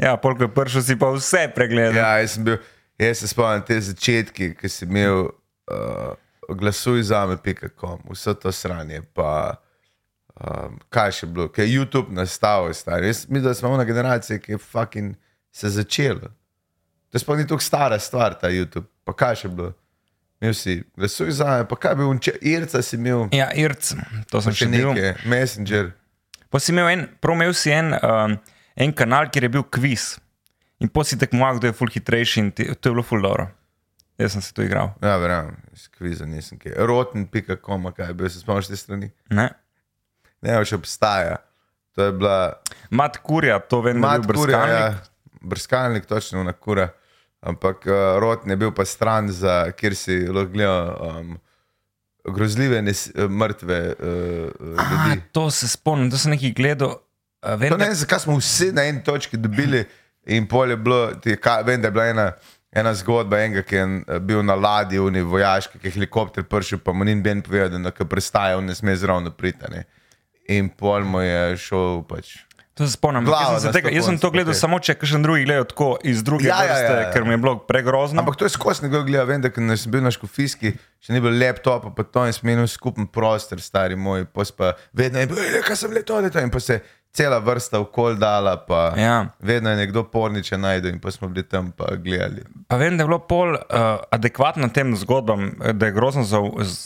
[SPEAKER 1] Ja, polk je prišel, si pa vse pregledal. Ja.
[SPEAKER 2] Ja, jaz sem bil, jaz se spomnim te začetke, ki si imel uh, glasuj za me.com, vse to sranje. Pa, um, kaj še bilo, ki je YouTube nastal, star. Jaz mislim, da smo ena generacija, ki je fucking se začela. To sploh ni tako stara stvar, ta YouTube. Pa kaj še bilo? Imel si glasuj za me, pa kaj bi unče, Irca si imel,
[SPEAKER 1] Ja, IRC, to sem
[SPEAKER 2] še
[SPEAKER 1] še bil.
[SPEAKER 2] nekaj, Messenger.
[SPEAKER 1] Pa si imel en, prav imel si en, um, en kanal, kjer je bil kviz. In po si tekmoval, kdo je ful hitrejši in ti, to je bilo ful dobro. Jaz sem se to igral.
[SPEAKER 2] Ja, verjamem, skviza nisem kaj. Roten.com, kaj je bil, se spomniš te strani?
[SPEAKER 1] Ne?
[SPEAKER 2] Ne, več obstaja. To je bila
[SPEAKER 1] Mat kurja, to vem, da je
[SPEAKER 2] Mat
[SPEAKER 1] bil
[SPEAKER 2] kurja,
[SPEAKER 1] brskalnik.
[SPEAKER 2] ja. brskalnik, točno na kura. Ampak uh, roten je bil pa stran, za, kjer si lahko gledal um, grozljive, nes, eh, mrtve uh,
[SPEAKER 1] A,
[SPEAKER 2] ljudi.
[SPEAKER 1] to se spomnim, to sem nekaj gledal. A, Vem,
[SPEAKER 2] To ne
[SPEAKER 1] da,
[SPEAKER 2] vem, zakaj smo vsi na eni točki dobili in polje bilo, ti je ka- vem, da je bila ena. Ena zgodba, enega, ki je eh, bil na ladji, v neki vojaški, ki je helikopter prišel, pa mu ni ben povedal, da ko prestaja, on ne sme zraven priti. a ne. In pol mu je šel pač.
[SPEAKER 1] to se spomnim. ampak
[SPEAKER 2] Glava
[SPEAKER 1] Jaz sem,
[SPEAKER 2] na
[SPEAKER 1] se tega, jaz sem to
[SPEAKER 2] stokoncu,
[SPEAKER 1] gledal
[SPEAKER 2] okej.
[SPEAKER 1] samo, če je kakšen drugi gledal tako iz druge
[SPEAKER 2] Ja,
[SPEAKER 1] ja,
[SPEAKER 2] ja, ja,
[SPEAKER 1] vrste, ja, ja,
[SPEAKER 2] ja.
[SPEAKER 1] ja. ker mi je bilo pregrozno.
[SPEAKER 2] Ampak to je skosno, ko gledam, vem, da ko sem bil na škofijski, še ni bilo laptopa, pa to in smenil skupen prostor, stari moj, pos pa vedno je bilo, kaj sem leto, leto in pa se je cela vrsta okol dala, pa
[SPEAKER 1] Ja.
[SPEAKER 2] vedno je nekdo porniče najdel in pa smo bili tam pa gledali.
[SPEAKER 1] Pa vem, da je bilo pol uh, adekvatno tem zgodbam, eh, da je grozno za,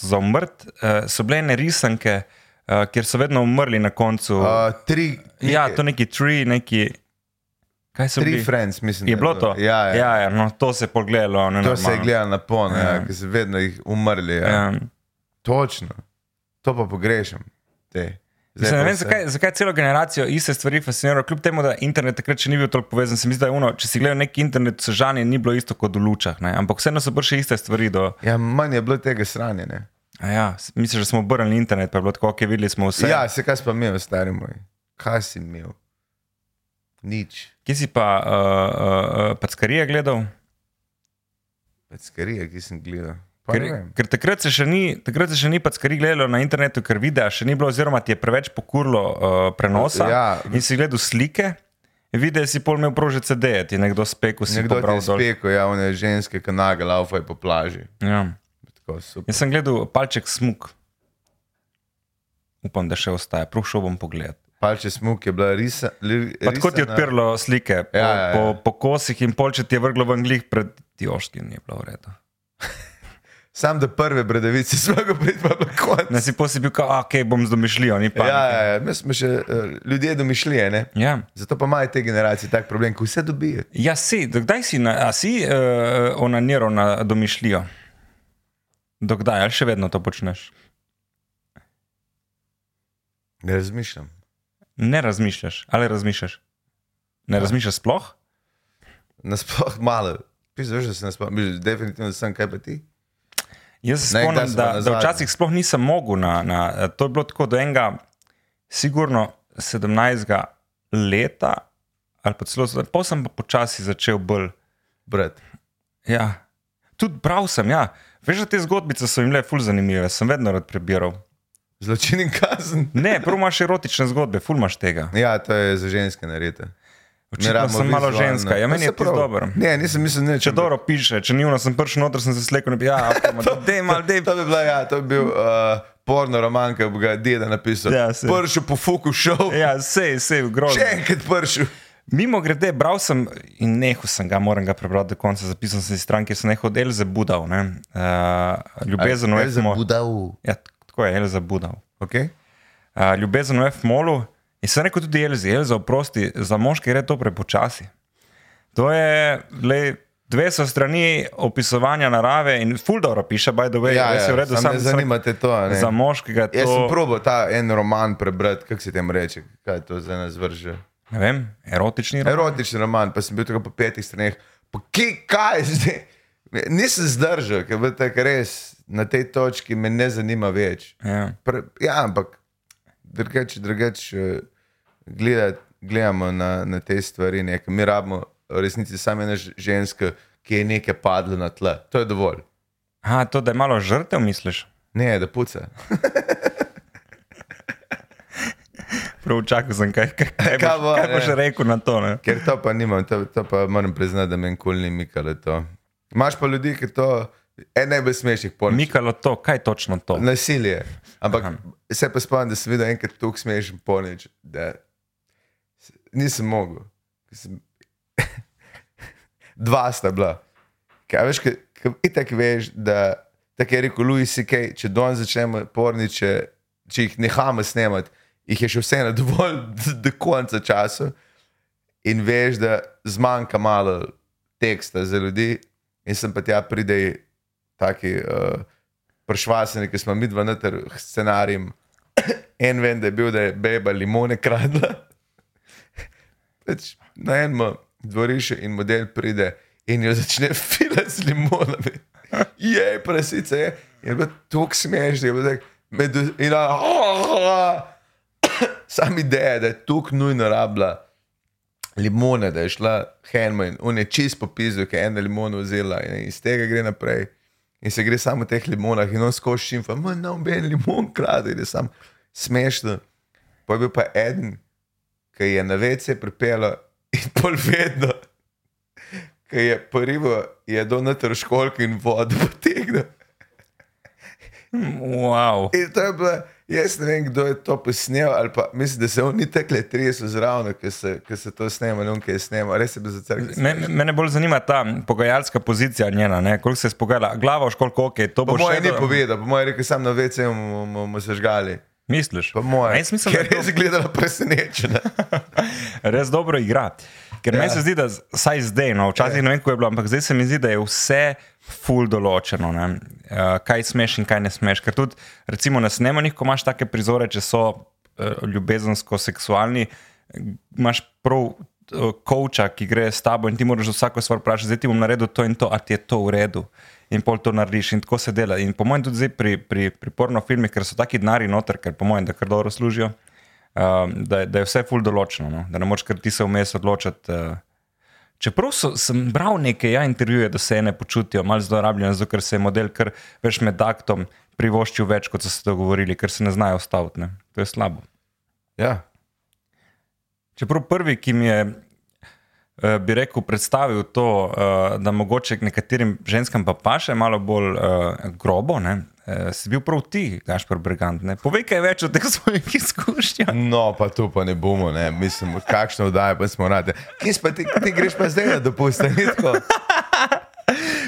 [SPEAKER 1] za umrt. Uh, so bile ene risanke, uh, kjer so vedno umrli na koncu. Uh,
[SPEAKER 2] Uh, tri,
[SPEAKER 1] ja, to neki tri, neki. Kaj so
[SPEAKER 2] tri
[SPEAKER 1] bili?
[SPEAKER 2] friends, mislim.
[SPEAKER 1] Je
[SPEAKER 2] da
[SPEAKER 1] bilo to?
[SPEAKER 2] Ja, ja. ja
[SPEAKER 1] ja, ja no, to se je pogledalo.
[SPEAKER 2] to se je gledalo na pon, ja.
[SPEAKER 1] Ja.
[SPEAKER 2] ja, ker so vedno jih umrli. Ja. Ja.
[SPEAKER 1] Ja.
[SPEAKER 2] Točno, to pa pogrešam. Te. Zdaj
[SPEAKER 1] Mislim, ne
[SPEAKER 2] pa
[SPEAKER 1] vem,
[SPEAKER 2] vse.
[SPEAKER 1] zakaj, zakaj celo generacijo iste stvari fascinira, kljub temu, da internet takrat še ni bil toliko povezan. Se mi zdi, da je ono, če si gledal neki internet, se žanje ni bilo isto kot v lučah, ne? ampak vseeno so prišle iste stvari do.
[SPEAKER 2] Ja, manj je bilo tega sranjene.
[SPEAKER 1] A Ja, s- misliš, da smo obrnili internet, pa je bilo tako, ok, videli smo vse.
[SPEAKER 2] Ja, se kaj si pa imel, stari moj. Kaj si imel? Nič.
[SPEAKER 1] Kje si pa uh, uh, uh, packarije gledal?
[SPEAKER 2] Peckarije, Pač ki sem gledal. Pa
[SPEAKER 1] Ker,
[SPEAKER 2] ne vem.
[SPEAKER 1] ker takrat se še ni, takrat se še ni packari gledalo na internetu, ker videa še ni bilo, oziroma ti je preveč pokurlo uh, prenosa.
[SPEAKER 2] Ja.
[SPEAKER 1] In si gledal slike, videl si pol imel prože CD, ti je nekdo spekel, si
[SPEAKER 2] Nekdo ti
[SPEAKER 1] pobral
[SPEAKER 2] je
[SPEAKER 1] dol.
[SPEAKER 2] spekel, ja, one ženske kanage, laufajo po plaži.
[SPEAKER 1] Ja.
[SPEAKER 2] Tako, super.
[SPEAKER 1] Jaz sem gledal palček smuk. Upam, da še ostaja, prav šel bom pogledat.
[SPEAKER 2] Palče smuk je bila risa, li,
[SPEAKER 1] Pa Tako ti je odprlo slike po,
[SPEAKER 2] Ja, ja, ja.
[SPEAKER 1] po, po kosih in pol, če ti je vrglo v anglih pred Joškim, je bilo v redu.
[SPEAKER 2] Sam do prve <laughs> bradavice smo ga pridli pa na
[SPEAKER 1] Ne
[SPEAKER 2] konec.
[SPEAKER 1] si posi bil, kot, ok, bom z domišljijo, ni pa.
[SPEAKER 2] Ja, ja, ja, mi smo še eh, ljudje domišljije, ne?
[SPEAKER 1] ja.
[SPEAKER 2] Zato pa imajo te generacije tak problem, ko vse dobijo.
[SPEAKER 1] Ja, si, dokdaj si, na, a si uh, onaniral na domišljijo? Dokdaj, ali še vedno to počneš?
[SPEAKER 2] Ne razmišljam.
[SPEAKER 1] Ne razmišljaš, ali razmišljaš?
[SPEAKER 2] Ja.
[SPEAKER 1] Ne razmišljaš sploh?
[SPEAKER 2] Nasploh malo. Pisaš, da sem nasploh, bil definitivno sem, kaj pa ti?
[SPEAKER 1] Jaz se
[SPEAKER 2] Ne, kdaj
[SPEAKER 1] spomnim,
[SPEAKER 2] si
[SPEAKER 1] da,
[SPEAKER 2] pa nazadnje?
[SPEAKER 1] da včasih sploh nisem mogel. Na, na, to je bilo tako do enega, sigurno 17. leta, ali pa celo zdaj. Potem sem pa počasi začel bolj.
[SPEAKER 2] Brat.
[SPEAKER 1] Ja. Tudi bral sem, ja. Veš, da te zgodbice so jim le ful zanimive, sem vedno rad prebiral.
[SPEAKER 2] Zločin in kazen.
[SPEAKER 1] Ne, prvo imaš erotične zgodbe, ful imaš tega.
[SPEAKER 2] Ja, to je za ženske narejeno.
[SPEAKER 1] Očitno sem malo ženska, ja, meni je to dobro.
[SPEAKER 2] Ne, nisem mislil, ne,
[SPEAKER 1] Če dobro piše, če njuno sem prišel noter, sem se slekel, ne bi,
[SPEAKER 2] <laughs>
[SPEAKER 1] ja, da je mal, da je.
[SPEAKER 2] To bi bila, ja, to bi bil uh, porno roman, ki bi ga deda napisal.
[SPEAKER 1] Ja, saj.
[SPEAKER 2] pršil po fuku šel, ja.
[SPEAKER 1] Ja, sej, sej, grozno.
[SPEAKER 2] še enkrat pršil.
[SPEAKER 1] Mimo grede, bral sem in nehal sem ga, moram ga prebrati do konca, zapisal sem si stran, kjer sem nehal od Elze Budal. Ne? Uh, ljubezen v F-molu.
[SPEAKER 2] budal.
[SPEAKER 1] Ja, tako je Elza Budal.
[SPEAKER 2] Okay?
[SPEAKER 1] Uh, ljubezen v F-molu. In sem rekel tudi Elzi, Elza, oprosti, za moški gre to prepočasi. To je, le, Dve so strani opisovanja narave in Fuldora piše, by the way,
[SPEAKER 2] Ja,
[SPEAKER 1] res je
[SPEAKER 2] ja,
[SPEAKER 1] v redu,
[SPEAKER 2] samo
[SPEAKER 1] samo
[SPEAKER 2] ne zanima te to, a ne?
[SPEAKER 1] Za moškega to,
[SPEAKER 2] Jaz sem probo ta en roman prebrati, kako se tem reče, kaj to za nas vrže.
[SPEAKER 1] ne vem, erotični roman.
[SPEAKER 2] Erotičen roman, pa sem bil tako po petih straneh. Pa ki, kaj zdaj? Nisem zdržal, ker bi tako res na tej točki me ne zanima več.
[SPEAKER 1] Ja.
[SPEAKER 2] Pre, ja, ampak drugače, drugače gledati, gledamo na, na te stvari. Nekaj. Mi rabimo v resnici samo ena ž- ženska, ki je nekaj padla na tla. To je dovolj.
[SPEAKER 1] Aha, to, da je malo žrtev, misliš?
[SPEAKER 2] Ne, da puca.
[SPEAKER 1] Prav čakal sem, kaj, kaj, kaj,
[SPEAKER 2] Kaj
[SPEAKER 1] kaj,
[SPEAKER 2] bo,
[SPEAKER 1] boš,
[SPEAKER 2] ja.
[SPEAKER 1] kaj
[SPEAKER 2] ne?
[SPEAKER 1] boš rekel na to. Ne?
[SPEAKER 2] Ker to pa nimam, to, to pa moram priznati, da meni kul ni mikalo to. Imáš pa ljudi, ki to, en najbolj smešnih porn.
[SPEAKER 1] Mikalo to, kaj je točno to?
[SPEAKER 2] Nasilje. Ampak
[SPEAKER 1] Aha.
[SPEAKER 2] se pa spomnim, da sem videl enkrat tako smešen ponič, da s- nisem mogel. Ker Sem... <laughs> Dva sta bila. Kaj veš, kaj, kaj, itak veš, da tako je rekel Louis C.K., če don začnemo porniče, če jih nehamo snemati, jih je še vseeno dovolj do, do konca časa in veš, da zmanjka malo teksta za ljudi, in sem pa tja pride taki uh, pršvaseni, ki smo mi dva noter scenarijem. <coughs> en vem, da je bil, da je beba limone kradla. <laughs> Pač na enem dvorišču in model pride in jo začne <laughs> filati z limonami. <laughs> Je, prasica je. In je bilo tako smešno, je bilo tako. Med, in, a, <coughs> sam ideja, da je tako nujno rabila limone, da je šla Henman, on je čist popisal, ki je ena limona vzela in iz tega gre naprej. In se gre samo v teh limonah, in on skoči in fama, no, ben limon krade, in je sam smešno. Pa je bil pa eden, ki je na vece pripeljal in <laughs> pol vedno, ki je porivo, je do noter školk in vodo potegnil.
[SPEAKER 1] Hm, Wow.
[SPEAKER 2] In to je bilo, jaz ne vem, kdo je to posnel, ali pa mislim, da se on ni tekle tresel zraven, ker se, ker se to snema, in on ki je snemal, res je bil zacrknjen.
[SPEAKER 1] Me, mene bolj zanima ta pogajalska pozicija njena, ne? koliko se je spogajala. Glava, školko, ok, to
[SPEAKER 2] Po
[SPEAKER 1] bo ja. še
[SPEAKER 2] mojem ni
[SPEAKER 1] do-
[SPEAKER 2] povedal, po mojem je rekel, sam na vece bomo se žgali.
[SPEAKER 1] Misliš?
[SPEAKER 2] Po mojem.
[SPEAKER 1] A Jaz mislim, da
[SPEAKER 2] Ker
[SPEAKER 1] je
[SPEAKER 2] je res gledala presenečena.
[SPEAKER 1] res dobro igra. Ker ja. meni se zdi, da z- vsaj zdaj, no, včasih ja. ne vem, kako je bilo, ampak zdaj se mi zdi, da je vse full določeno, ne, uh, kaj smeš in kaj ne smeš. Ker tudi, recimo, na snemanjih, ko imaš take prizore, če so uh, ljubezensko-seksualni, imaš prav. eh, Coacha, ki gre s tabo, in ti moraš za vsako stvar vprašati, zdaj ti bom naredil to in to, ali ti je to v redu, in pol to narediš, in tako se dela. In po mojem, tudi zdaj pri, pri, pri porno filmih, ker so taki denari noter, ker po mojem, da kar dobro služijo, um, da, je- da je vse ful določeno, no? da ne moreš kar ti se vmes odločiti. Uh, Čeprav so, sem bral nekaj ja, intervjuje, da se ne počutijo malo zlorabljene, zato ker se je model kar več med aktom privoščil več, kot so se dogovorili, ker se ne znajo ustaviti. Ne? To je slabo.
[SPEAKER 2] Ja.
[SPEAKER 1] Čeprav prvi, ki mi je, eh, bi rekel, predstavil to, eh, da mogoče nekaterim ženskam pa paše malo bolj eh, grobo, ne, eh, si bil prav ti, Gašpor Brigant. Ne? Povej kaj več o teh svojih izkušnjah.
[SPEAKER 2] No, pa to pa ne bomo, ne. mislim, kakšno vdaje pa smo rade. Kje si pa ti, ti greš pa zdaj na dopust, a ni tako?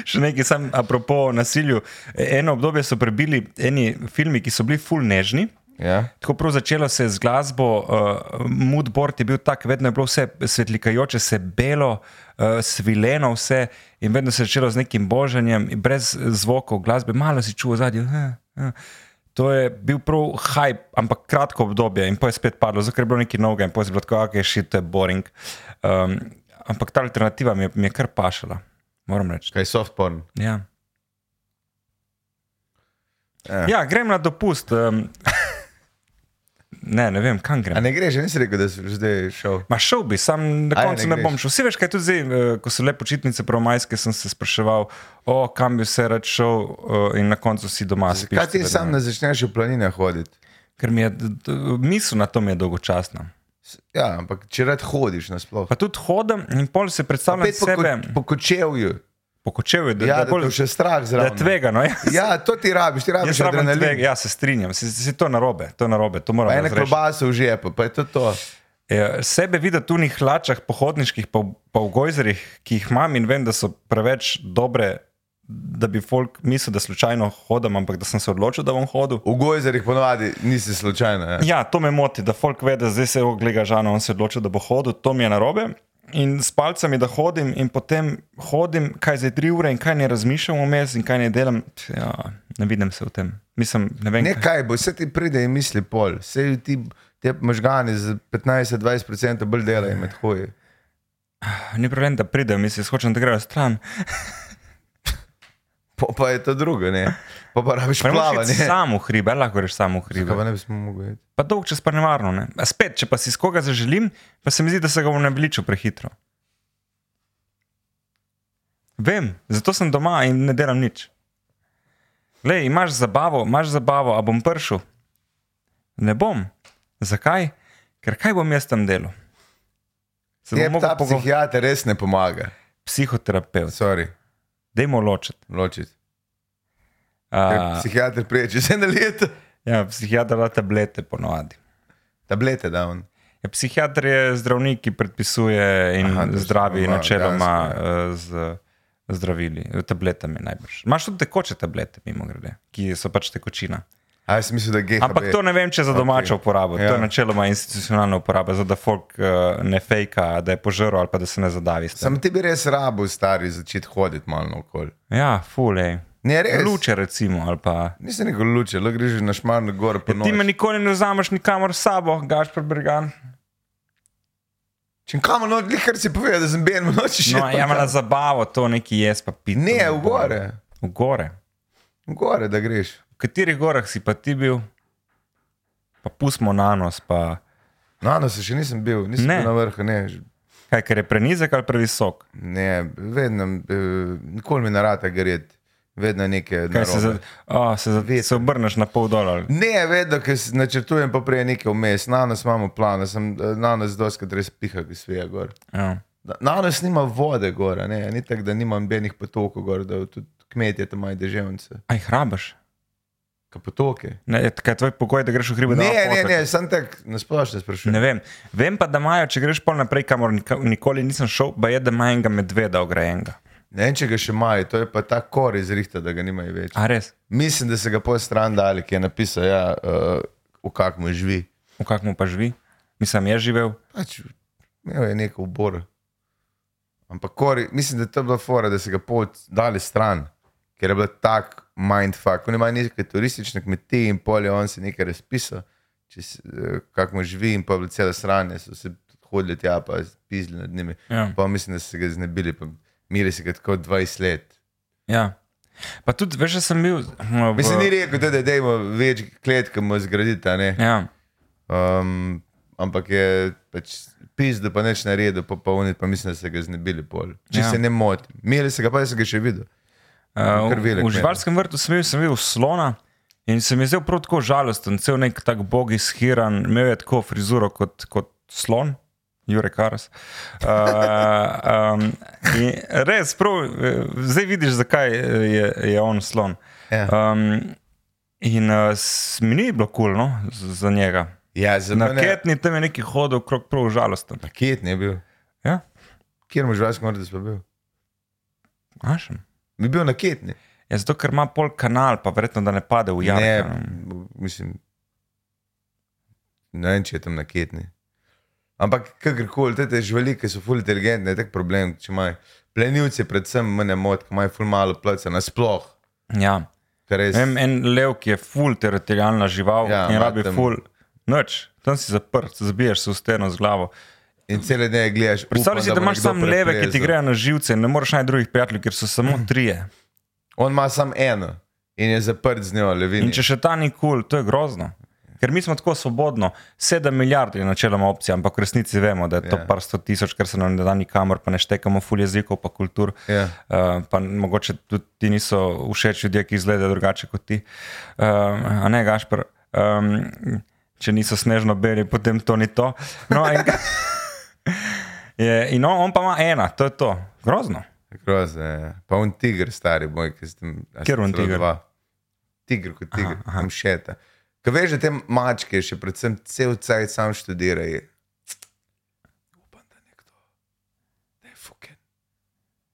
[SPEAKER 1] Še nekaj, sam apropo nasilju. E, Eno obdobje so prebili eni filmi, ki so bili full nežni.
[SPEAKER 2] Ja.
[SPEAKER 1] Tako prav začelo se je z glasbo, uh, moodboard je bil tak, vedno je bilo vse svetlikajoče, se belo, uh, svileno, vse in vedno se je začelo z nekim božanjem, in brez zvokov, glasbe, malo si čuo zadnji. Uh, uh. To je bil prav hype, ampak kratko obdobje, in potem je spet padlo, zato ker je bilo nekaj novega, in potem je bilo tako, ok, shit, to je boring. Um, ampak ta alternativa mi je, mi je kar pašala, moram reči.
[SPEAKER 2] Kaj soft porn?
[SPEAKER 1] Ja.
[SPEAKER 2] Ja.
[SPEAKER 1] Ja, grem na dopust. Um, ne, ne vem, kam grem.
[SPEAKER 2] A ne greš, ja nisi rekel, da si zdaj šel.
[SPEAKER 1] Ma šel bi, sam na
[SPEAKER 2] Aj,
[SPEAKER 1] koncu
[SPEAKER 2] ne
[SPEAKER 1] ne,
[SPEAKER 2] greš.
[SPEAKER 1] ne bom šel. Vsi veš, kaj tudi zdaj, eh, ko so le počitnice pravomajske, sem se spraševal, o, kam bi vse rad šel, eh, in na koncu si doma spiš.
[SPEAKER 2] Kaj ti
[SPEAKER 1] seveda,
[SPEAKER 2] sam
[SPEAKER 1] ne.
[SPEAKER 2] ne začneš v planine hoditi?
[SPEAKER 1] Ker mi je d- d- misel na to mi je dolgočasna.
[SPEAKER 2] Ja, ampak če rad hodiš nasploh.
[SPEAKER 1] Pa tudi hodim in pol se predstavljam
[SPEAKER 2] Spet po,
[SPEAKER 1] sebe,
[SPEAKER 2] ko- po kočevju.
[SPEAKER 1] pokočev je, da,
[SPEAKER 2] Ja,
[SPEAKER 1] da,
[SPEAKER 2] da
[SPEAKER 1] bolj,
[SPEAKER 2] te še strah
[SPEAKER 1] da
[SPEAKER 2] zraven.
[SPEAKER 1] tvega. No, ja.
[SPEAKER 2] Ja, to ti rabiš,
[SPEAKER 1] <laughs>
[SPEAKER 2] ti rabiš
[SPEAKER 1] Jaz rabim
[SPEAKER 2] adrenalin.
[SPEAKER 1] tvega, ja, se strinjam, se, se, se to je narobe, to je narobe, to
[SPEAKER 2] Pa
[SPEAKER 1] moram
[SPEAKER 2] ena
[SPEAKER 1] reči.
[SPEAKER 2] klobasa v žepu, pa je to to.
[SPEAKER 1] Ja, Sebe vidim tu v njih hlačah, pohodniških, pa, v- pa v gojzerih, ki jih imam in vem, da so preveč dobre, da bi folk mislil, da slučajno hodim, ampak da sem se odločil, da bom hodil.
[SPEAKER 2] V gojzerih ponovadi nisi slučajno. Ja.
[SPEAKER 1] Ja, to me moti, da folk ve, da zdaj se oglega žano, on se je odločil, da bo hodil, to mi je narobe. in s palcami, da hodim, in potem hodim, kaj za tri ure, in kaj ne razmišljam vmes, in kaj ne delam. Pf, Ja, ne vidim se v tem. Mislim, ne vem, kaj.
[SPEAKER 2] Nekaj bo, vse ti pride in misli pol, vse ti te možgani z 15-20% bolj delajo med hoji.
[SPEAKER 1] ni problem, da pridem, mislim, hočem, da grejo stran.
[SPEAKER 2] Po pa je to drugo, ne. Po pa rabiš
[SPEAKER 1] Ne moreš iti
[SPEAKER 2] plavanje.
[SPEAKER 1] sam v hribe, lahko greš sam v hribe.
[SPEAKER 2] Kaj pa ne bi smo mogli iti?
[SPEAKER 1] Pa dolg čas pa nevarno. Ne? A spet, če pa si s koga zaželim, pa se mi zdi, da se ga bom naveličil prehitro. Vem, zato sem doma in ne delam nič. Le, imaš zabavo, imaš zabavo, a bom pršel? Ne bom. Zakaj? Ker kaj bom jaz tam delal? Se
[SPEAKER 2] Je
[SPEAKER 1] bom
[SPEAKER 2] ta
[SPEAKER 1] mogel pogovarjati.
[SPEAKER 2] psihiater res ne pomaga.
[SPEAKER 1] Psihoterapeut,
[SPEAKER 2] Sorry,
[SPEAKER 1] dajmo ločiti.
[SPEAKER 2] ločiti. Ker
[SPEAKER 1] Uh,
[SPEAKER 2] Psihiater prije, če se ne leta.
[SPEAKER 1] ja, psihiater da tablete ponovadi.
[SPEAKER 2] Tablete da on.
[SPEAKER 1] Ja, Psihiater je zdravnik, ki predpisuje in
[SPEAKER 2] Aha, ja.
[SPEAKER 1] Aha,
[SPEAKER 2] točno,
[SPEAKER 1] zdravi
[SPEAKER 2] aha,
[SPEAKER 1] načeloma eh, z zdravili, eh, tabletami najbrž. Imaš tudi tekoče tablete, mimo grede, ki so pač tekočina.
[SPEAKER 2] A jaz sem mislil, da GHB.
[SPEAKER 1] Ampak to ne vem, če je za domačo okay. uporabo, ja. to
[SPEAKER 2] Ja.
[SPEAKER 1] je načeloma institucionalna uporaba, zato da folk eh, ne fejka, da je požrl ali pa da se ne zadavi. s tem.
[SPEAKER 2] Sam ti bi res rabo stari začeti hoditi malo okoli.
[SPEAKER 1] Ja, fulej.
[SPEAKER 2] Ne, res.
[SPEAKER 1] Luče, recimo, ali pa.
[SPEAKER 2] Nisi neko luče, lahko greš na šmarno gor. po
[SPEAKER 1] Ja, ti
[SPEAKER 2] noč.
[SPEAKER 1] me nikoli ne vzameš nikamor s sabo, gaš pa brgan.
[SPEAKER 2] Če kam noč, kar si povedal, da sem ben noč
[SPEAKER 1] No, ja, na zabavo to neki jaz pa pijem.
[SPEAKER 2] Ne, v gore,
[SPEAKER 1] V gore.
[SPEAKER 2] v gore, da greš.
[SPEAKER 1] V katerih gorah si pa ti bil, pa pustimo na nos, pa
[SPEAKER 2] No, no, se še nisem bil, nisem
[SPEAKER 1] Ne.
[SPEAKER 2] ne. bil na vrhu, ne, že-
[SPEAKER 1] kaj, ker je prenizek ali previsok.
[SPEAKER 2] ne vedno, eh, nikoli mi narata gret, vedno neke.
[SPEAKER 1] Kaj se, za,
[SPEAKER 2] narobe.
[SPEAKER 1] oh, se, za,
[SPEAKER 2] Veter.
[SPEAKER 1] se obrneš na pol dol. ali-
[SPEAKER 2] Ne, vedno, ker si načrtujem, pa prej nekaj vmes, na nas imamo plan, sem, eh, na nas doskrat res piha, ki sveja gor.
[SPEAKER 1] Ja.
[SPEAKER 2] Na- Na nas nima vode gor, a ne, ni tako, da nimam benih potokov gor, da tudi kmetje tam imajo deževnice,
[SPEAKER 1] Aj hrabaš.
[SPEAKER 2] ka potoke.
[SPEAKER 1] Ne, je- kaj je tvoj pogoj, da greš v hribe? da
[SPEAKER 2] Ne,
[SPEAKER 1] lahko
[SPEAKER 2] ne,
[SPEAKER 1] fotek?
[SPEAKER 2] ne, sem tak nasplošno sprašujem.
[SPEAKER 1] Ne vem. vem pa, da imajo, če greš pol naprej, kamor nika- nikoli nisem šel, pa je, da ima enega medveda ograjenega.
[SPEAKER 2] Ne vem, če ga še imajo, to je pa ta kor izrihta, da ga nimajo več.
[SPEAKER 1] A res,
[SPEAKER 2] Mislim, da se ga pol stran dali, ki je napisal, ja, uh, v kakmu živi.
[SPEAKER 1] v kakmu pa živi? Mislim, je živel.
[SPEAKER 2] Pač, imel je neko obor. Ampak kori, mislim, da je to bila fora, da se ga pol dali stran, ker je bil tak mindfuck. Oni imajo neke turistične kmetije in polje, on se je nekaj razpisal, če se, eh, kakmu živi in pa bila cela stran, so se hodili tja, pa pizli nad njimi.
[SPEAKER 1] Ja.
[SPEAKER 2] Pa mislim, da so se ga znebili, pa miri se ga tako 20 let.
[SPEAKER 1] Ja. Pa tudi, veš, da sem bil. no, v-
[SPEAKER 2] Mislim, ni rekel, tudi, da dajmo več klet, ki mu zgraditi. a ne.
[SPEAKER 1] Ja.
[SPEAKER 2] Um, ampak je pač pis, da pa neč naredil, pa polnit, pa mislim, da se ga znebili pol. Če
[SPEAKER 1] Ja.
[SPEAKER 2] ja. se ne motim. Mili se ga, pa jaz sem ga še videl.
[SPEAKER 1] Uh,
[SPEAKER 2] Kar velik
[SPEAKER 1] v
[SPEAKER 2] meni.
[SPEAKER 1] živalskem vrtu sem bil, sem bil slona in se mi je zdel prav tako žalosten, cel nek tak bog izhiran, imel je tako frizuro kot, kot slon. Jurek Karas. <laughs> Uh, um, in res, prav, eh, zdaj vidiš, zakaj eh, je, je on slon.
[SPEAKER 2] Ja,
[SPEAKER 1] Um, in uh, s- mi ni bilo kul cool, no, z- za njega.
[SPEAKER 2] ja za
[SPEAKER 1] Na
[SPEAKER 2] mene.
[SPEAKER 1] ketni tam je neki hodil, krok prav žalosten.
[SPEAKER 2] Raket ne bil.
[SPEAKER 1] Ja,
[SPEAKER 2] Kjer mu živalsko morda smo bil?
[SPEAKER 1] našem.
[SPEAKER 2] Mi bil na ketni.
[SPEAKER 1] Ja, zato, ker ima pol kanal, pa verjetno, da ne pade v jarek.
[SPEAKER 2] ne,
[SPEAKER 1] no.
[SPEAKER 2] mislim. Ne vem, če je tam na ketni. Ampak kakorkoli, te, te živali, ki so fully inteligentne, je tak problem, če imajo. Plenilci, predvsem, mene moti, ki imajo fully malo plca, nasploh.
[SPEAKER 1] Ja.
[SPEAKER 2] Kar res.
[SPEAKER 1] Vem, en lev, ki je ful teritorijalna žival ja,
[SPEAKER 2] Ja,
[SPEAKER 1] in
[SPEAKER 2] ima
[SPEAKER 1] rabi
[SPEAKER 2] tam-
[SPEAKER 1] ful noč, tam si zaprt, zabiješ se v steno z glavo.
[SPEAKER 2] In cele dneve gledaš.
[SPEAKER 1] Predstavljaj
[SPEAKER 2] upam,
[SPEAKER 1] si, da
[SPEAKER 2] bo
[SPEAKER 1] imaš
[SPEAKER 2] nekdo
[SPEAKER 1] samo leve, ki ti
[SPEAKER 2] preplezal.
[SPEAKER 1] grejo na živce in ne moreš najti drugih prijateljev, ker so
[SPEAKER 2] <clears throat>
[SPEAKER 1] samo trije.
[SPEAKER 2] On ima samo eno in je zaprt z njo,
[SPEAKER 1] In
[SPEAKER 2] levin.
[SPEAKER 1] če še ta ni kul, cool, to je grozno. Ker mi smo tako svobodno, 7 milijard je načeloma opcija, ampak v resnici vemo, da je to
[SPEAKER 2] Ja.
[SPEAKER 1] par sto tisoč, ker se nam ne da nikamor, pa ne štekamo ful jezikov, pa kultur.
[SPEAKER 2] Ja.
[SPEAKER 1] Uh, pa mogoče tudi ti niso všeč ljudje, ki izgledajo drugače kot ti. Uh, a ne, Gašpr, um, če niso snežno beli, potem to ni to. No, in, <laughs> je, in no, on, on pa ima ena, to je to. Grozno.
[SPEAKER 2] Grozno, ja. Pa on tiger, stari boj, ki sem.
[SPEAKER 1] Kateri on tiger?
[SPEAKER 2] Tiger kot tiger, tam šeta. Kaj veš, da te mačke še predvsem cel cajt sam študirajo. Upam, da nekdo ne fuken.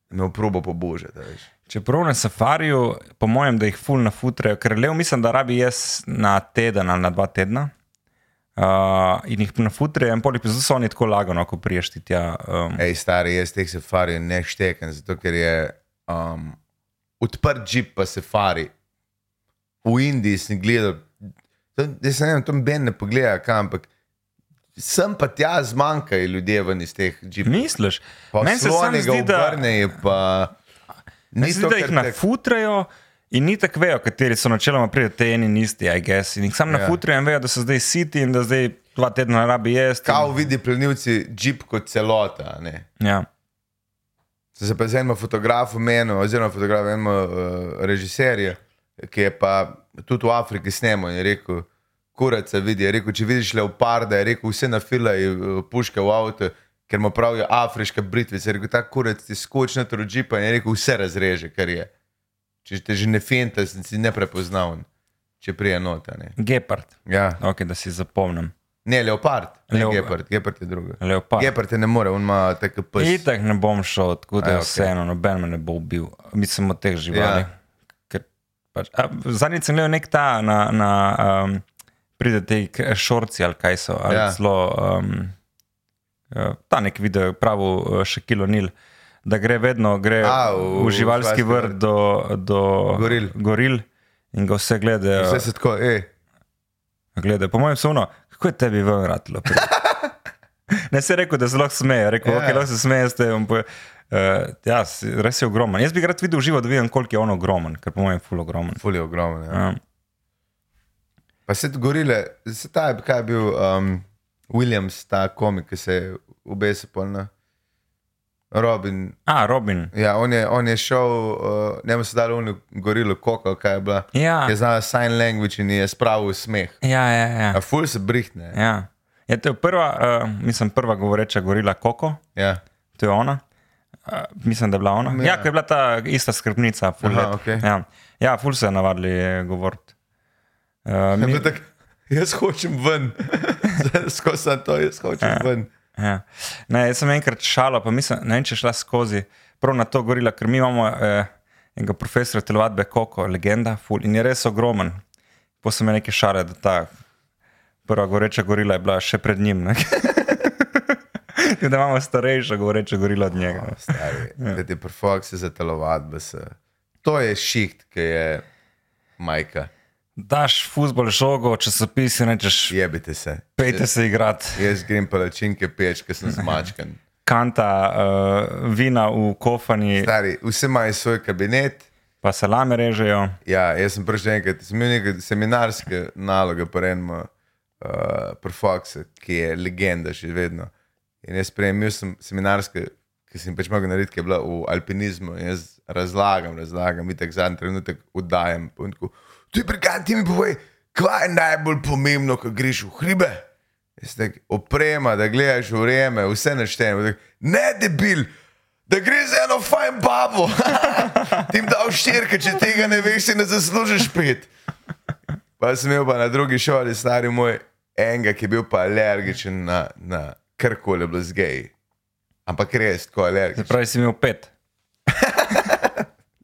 [SPEAKER 2] Me probo No, pobožati, a veš.
[SPEAKER 1] Čeprav na safariju, po mojem, da jih ful nafutrejo, ker lev mislim, da rabi jaz na teden ali na dva tedna. Uh, in jih na futre, en pol epizod so oni tako lagano, ko priješ ti tja. Um,
[SPEAKER 2] Ej, stari, jaz teh safarijev ne štekam, zato ker je um, odprt žip pa safari. V Indiji sem gledal, tam, jaz ne vem, tam Ben ne pogleda kam, ampak sem pa tja zmanjkajo ljudje ven iz teh žipov.
[SPEAKER 1] misliš?
[SPEAKER 2] Pa
[SPEAKER 1] Meni se samo
[SPEAKER 2] slonega
[SPEAKER 1] zdi, da,
[SPEAKER 2] obrne je pa...
[SPEAKER 1] meni se zdi, da jih
[SPEAKER 2] kar te-
[SPEAKER 1] nafutrajo. In ni tako vejo, kateri so načeloma pride te eni in isti, I guess. In jih sam
[SPEAKER 2] Ja.
[SPEAKER 1] yeah. nafutrajo in vejo, da so zdaj siti in da zdaj dva tedna ne rabi jesti.
[SPEAKER 2] Kao vidi plenilci žip kot celota, a ne?
[SPEAKER 1] Ja.
[SPEAKER 2] Sem se pa z enim fotografom menil, oziroma fotografom enemu uh, režiserju, ki je pa tudi v Afriki snemal in je rekel, kuraca vidi, je rekel, če vidiš leoparda, je rekel, vse nafila in puške v avto, ker mu pravijo afriška britvica, je rekel, ta kurac ti skočna trožipa in je rekel, vse razreže, kar je. Če te že ne fenta, sem si neprepoznaven, če prije nota. Ne,
[SPEAKER 1] Gepard,
[SPEAKER 2] ja.
[SPEAKER 1] ok, da si zapomnim.
[SPEAKER 2] ne leopard, ne
[SPEAKER 1] Leopard.
[SPEAKER 2] Leop. gepard, gepard je druga.
[SPEAKER 1] Leopard.
[SPEAKER 2] Gepard je ne more, on ima tako pes.
[SPEAKER 1] Itak ne bom šel, tako da
[SPEAKER 2] Aj,
[SPEAKER 1] je
[SPEAKER 2] okej.
[SPEAKER 1] vseeno, noben me ne bo ubil, mislim od teh živali.
[SPEAKER 2] Ja.
[SPEAKER 1] Ja. Pač, a, Zadnjič sem gledal nek ta, na, na, um, pride te k- šorci ali kaj so, ali
[SPEAKER 2] Ja.
[SPEAKER 1] ja. zelo um, eh, ta nek video, pravo še kilo nil. Da gre vedno gre
[SPEAKER 2] A,
[SPEAKER 1] v, v živalski vrt do, do
[SPEAKER 2] Goril.
[SPEAKER 1] goril in ga vse gledajo.
[SPEAKER 2] Vse se tako, hej.
[SPEAKER 1] Glede, po mojem, suno, kako je tebi ven ratilo? pri- <laughs> ne se rekel, da se lahko smeje, rekel,
[SPEAKER 2] Ja.
[SPEAKER 1] yeah. okay, lahko se smeje, ste jim. Uh, ja, si- res je ogromen. Jaz bi ga rad videl v živo, da vidim, koliko je on ogromen, ker po mojem, je ful ogromen.
[SPEAKER 2] Fulje ogromno. Ja.
[SPEAKER 1] Um,
[SPEAKER 2] Pa se ti gorile, se ta je, kaj je bil um, Williams, ta komik, ki se je obesil pol na Robin.
[SPEAKER 1] a, Robin.
[SPEAKER 2] Ja, on je, on je šel, uh, ne vem, se dal v gorilo, koko, kaj je bila.
[SPEAKER 1] Ja,
[SPEAKER 2] Je znala sign language in ji je spravil v smeh.
[SPEAKER 1] ja, ja. ja.
[SPEAKER 2] A ful se brihne.
[SPEAKER 1] ja. Je to je prva, uh, mislim, prva govoreča gorila Koko,
[SPEAKER 2] Ja.
[SPEAKER 1] to je ona. Uh, mislim, da je bila ona. Ja,
[SPEAKER 2] Ja.
[SPEAKER 1] ja ko je bila ta ista skrbnica, ful.
[SPEAKER 2] Aha,
[SPEAKER 1] let.
[SPEAKER 2] okej.
[SPEAKER 1] Ja. ja, ful se je navadili govoriti.
[SPEAKER 2] <laughs>
[SPEAKER 1] Uh,
[SPEAKER 2] Ja.
[SPEAKER 1] mi-
[SPEAKER 2] Mi... Tak, jaz hočem ven, <laughs> skozi sem to, jaz hočem ja. ven.
[SPEAKER 1] Ja. Ne, jaz sem enkrat šala, pa mislim, ne vem, če je šla skozi. Prav na to gorila, ker mi imamo eh, enega profesora telovadbe Koko, legenda, ful, in je res ogromen. Posem je neke šale, da ta prva goreča gorila je bila še pred njim. ne. <laughs> da imamo starejšo gorečo gorila od njega.
[SPEAKER 2] Stari, ja. Da ti perfok se zatelovati, da se. To je šiht, ki je majka.
[SPEAKER 1] Daš futbol žogo, časopis in rečeš,
[SPEAKER 2] Jebite se.
[SPEAKER 1] pejte se igrat.
[SPEAKER 2] Jaz grem palačinke peč, ker sem zmačkan.
[SPEAKER 1] Kanta uh, vina v kofani,
[SPEAKER 2] Stari, vsi imajo svoj kabinet.
[SPEAKER 1] pa salame režejo.
[SPEAKER 2] Ja, jaz sem prišel enkrat, sem imel nekaj seminarske naloge, pa eno uh, profokse, ki je legenda še vedno. In jaz prejemil sem seminarske, ki sem jih pač mogel narediti, ki je bila v alpinizmu. In jaz razlagam, razlagam, in tako zadnji trenutek vdajem. Pa on tako, Ti brigant, ti mi povej, kaj je najbolj pomembno, ko greš v hribe? Jaz tak, oprema, da gledaš vreme, vse naštejemo. Tak, Ne, debil, da gre za eno fajn babo. <laughs> Ti jim dal štirke, če tega ne veš, si ne zaslužiš pet. Pa sem imel pa na drugi šoli, stari moj, enega, ki je bil pa alergičen na, na kar koli bilo z geji. Ampak res, tako alergičen.
[SPEAKER 1] Pravi, si imel pet.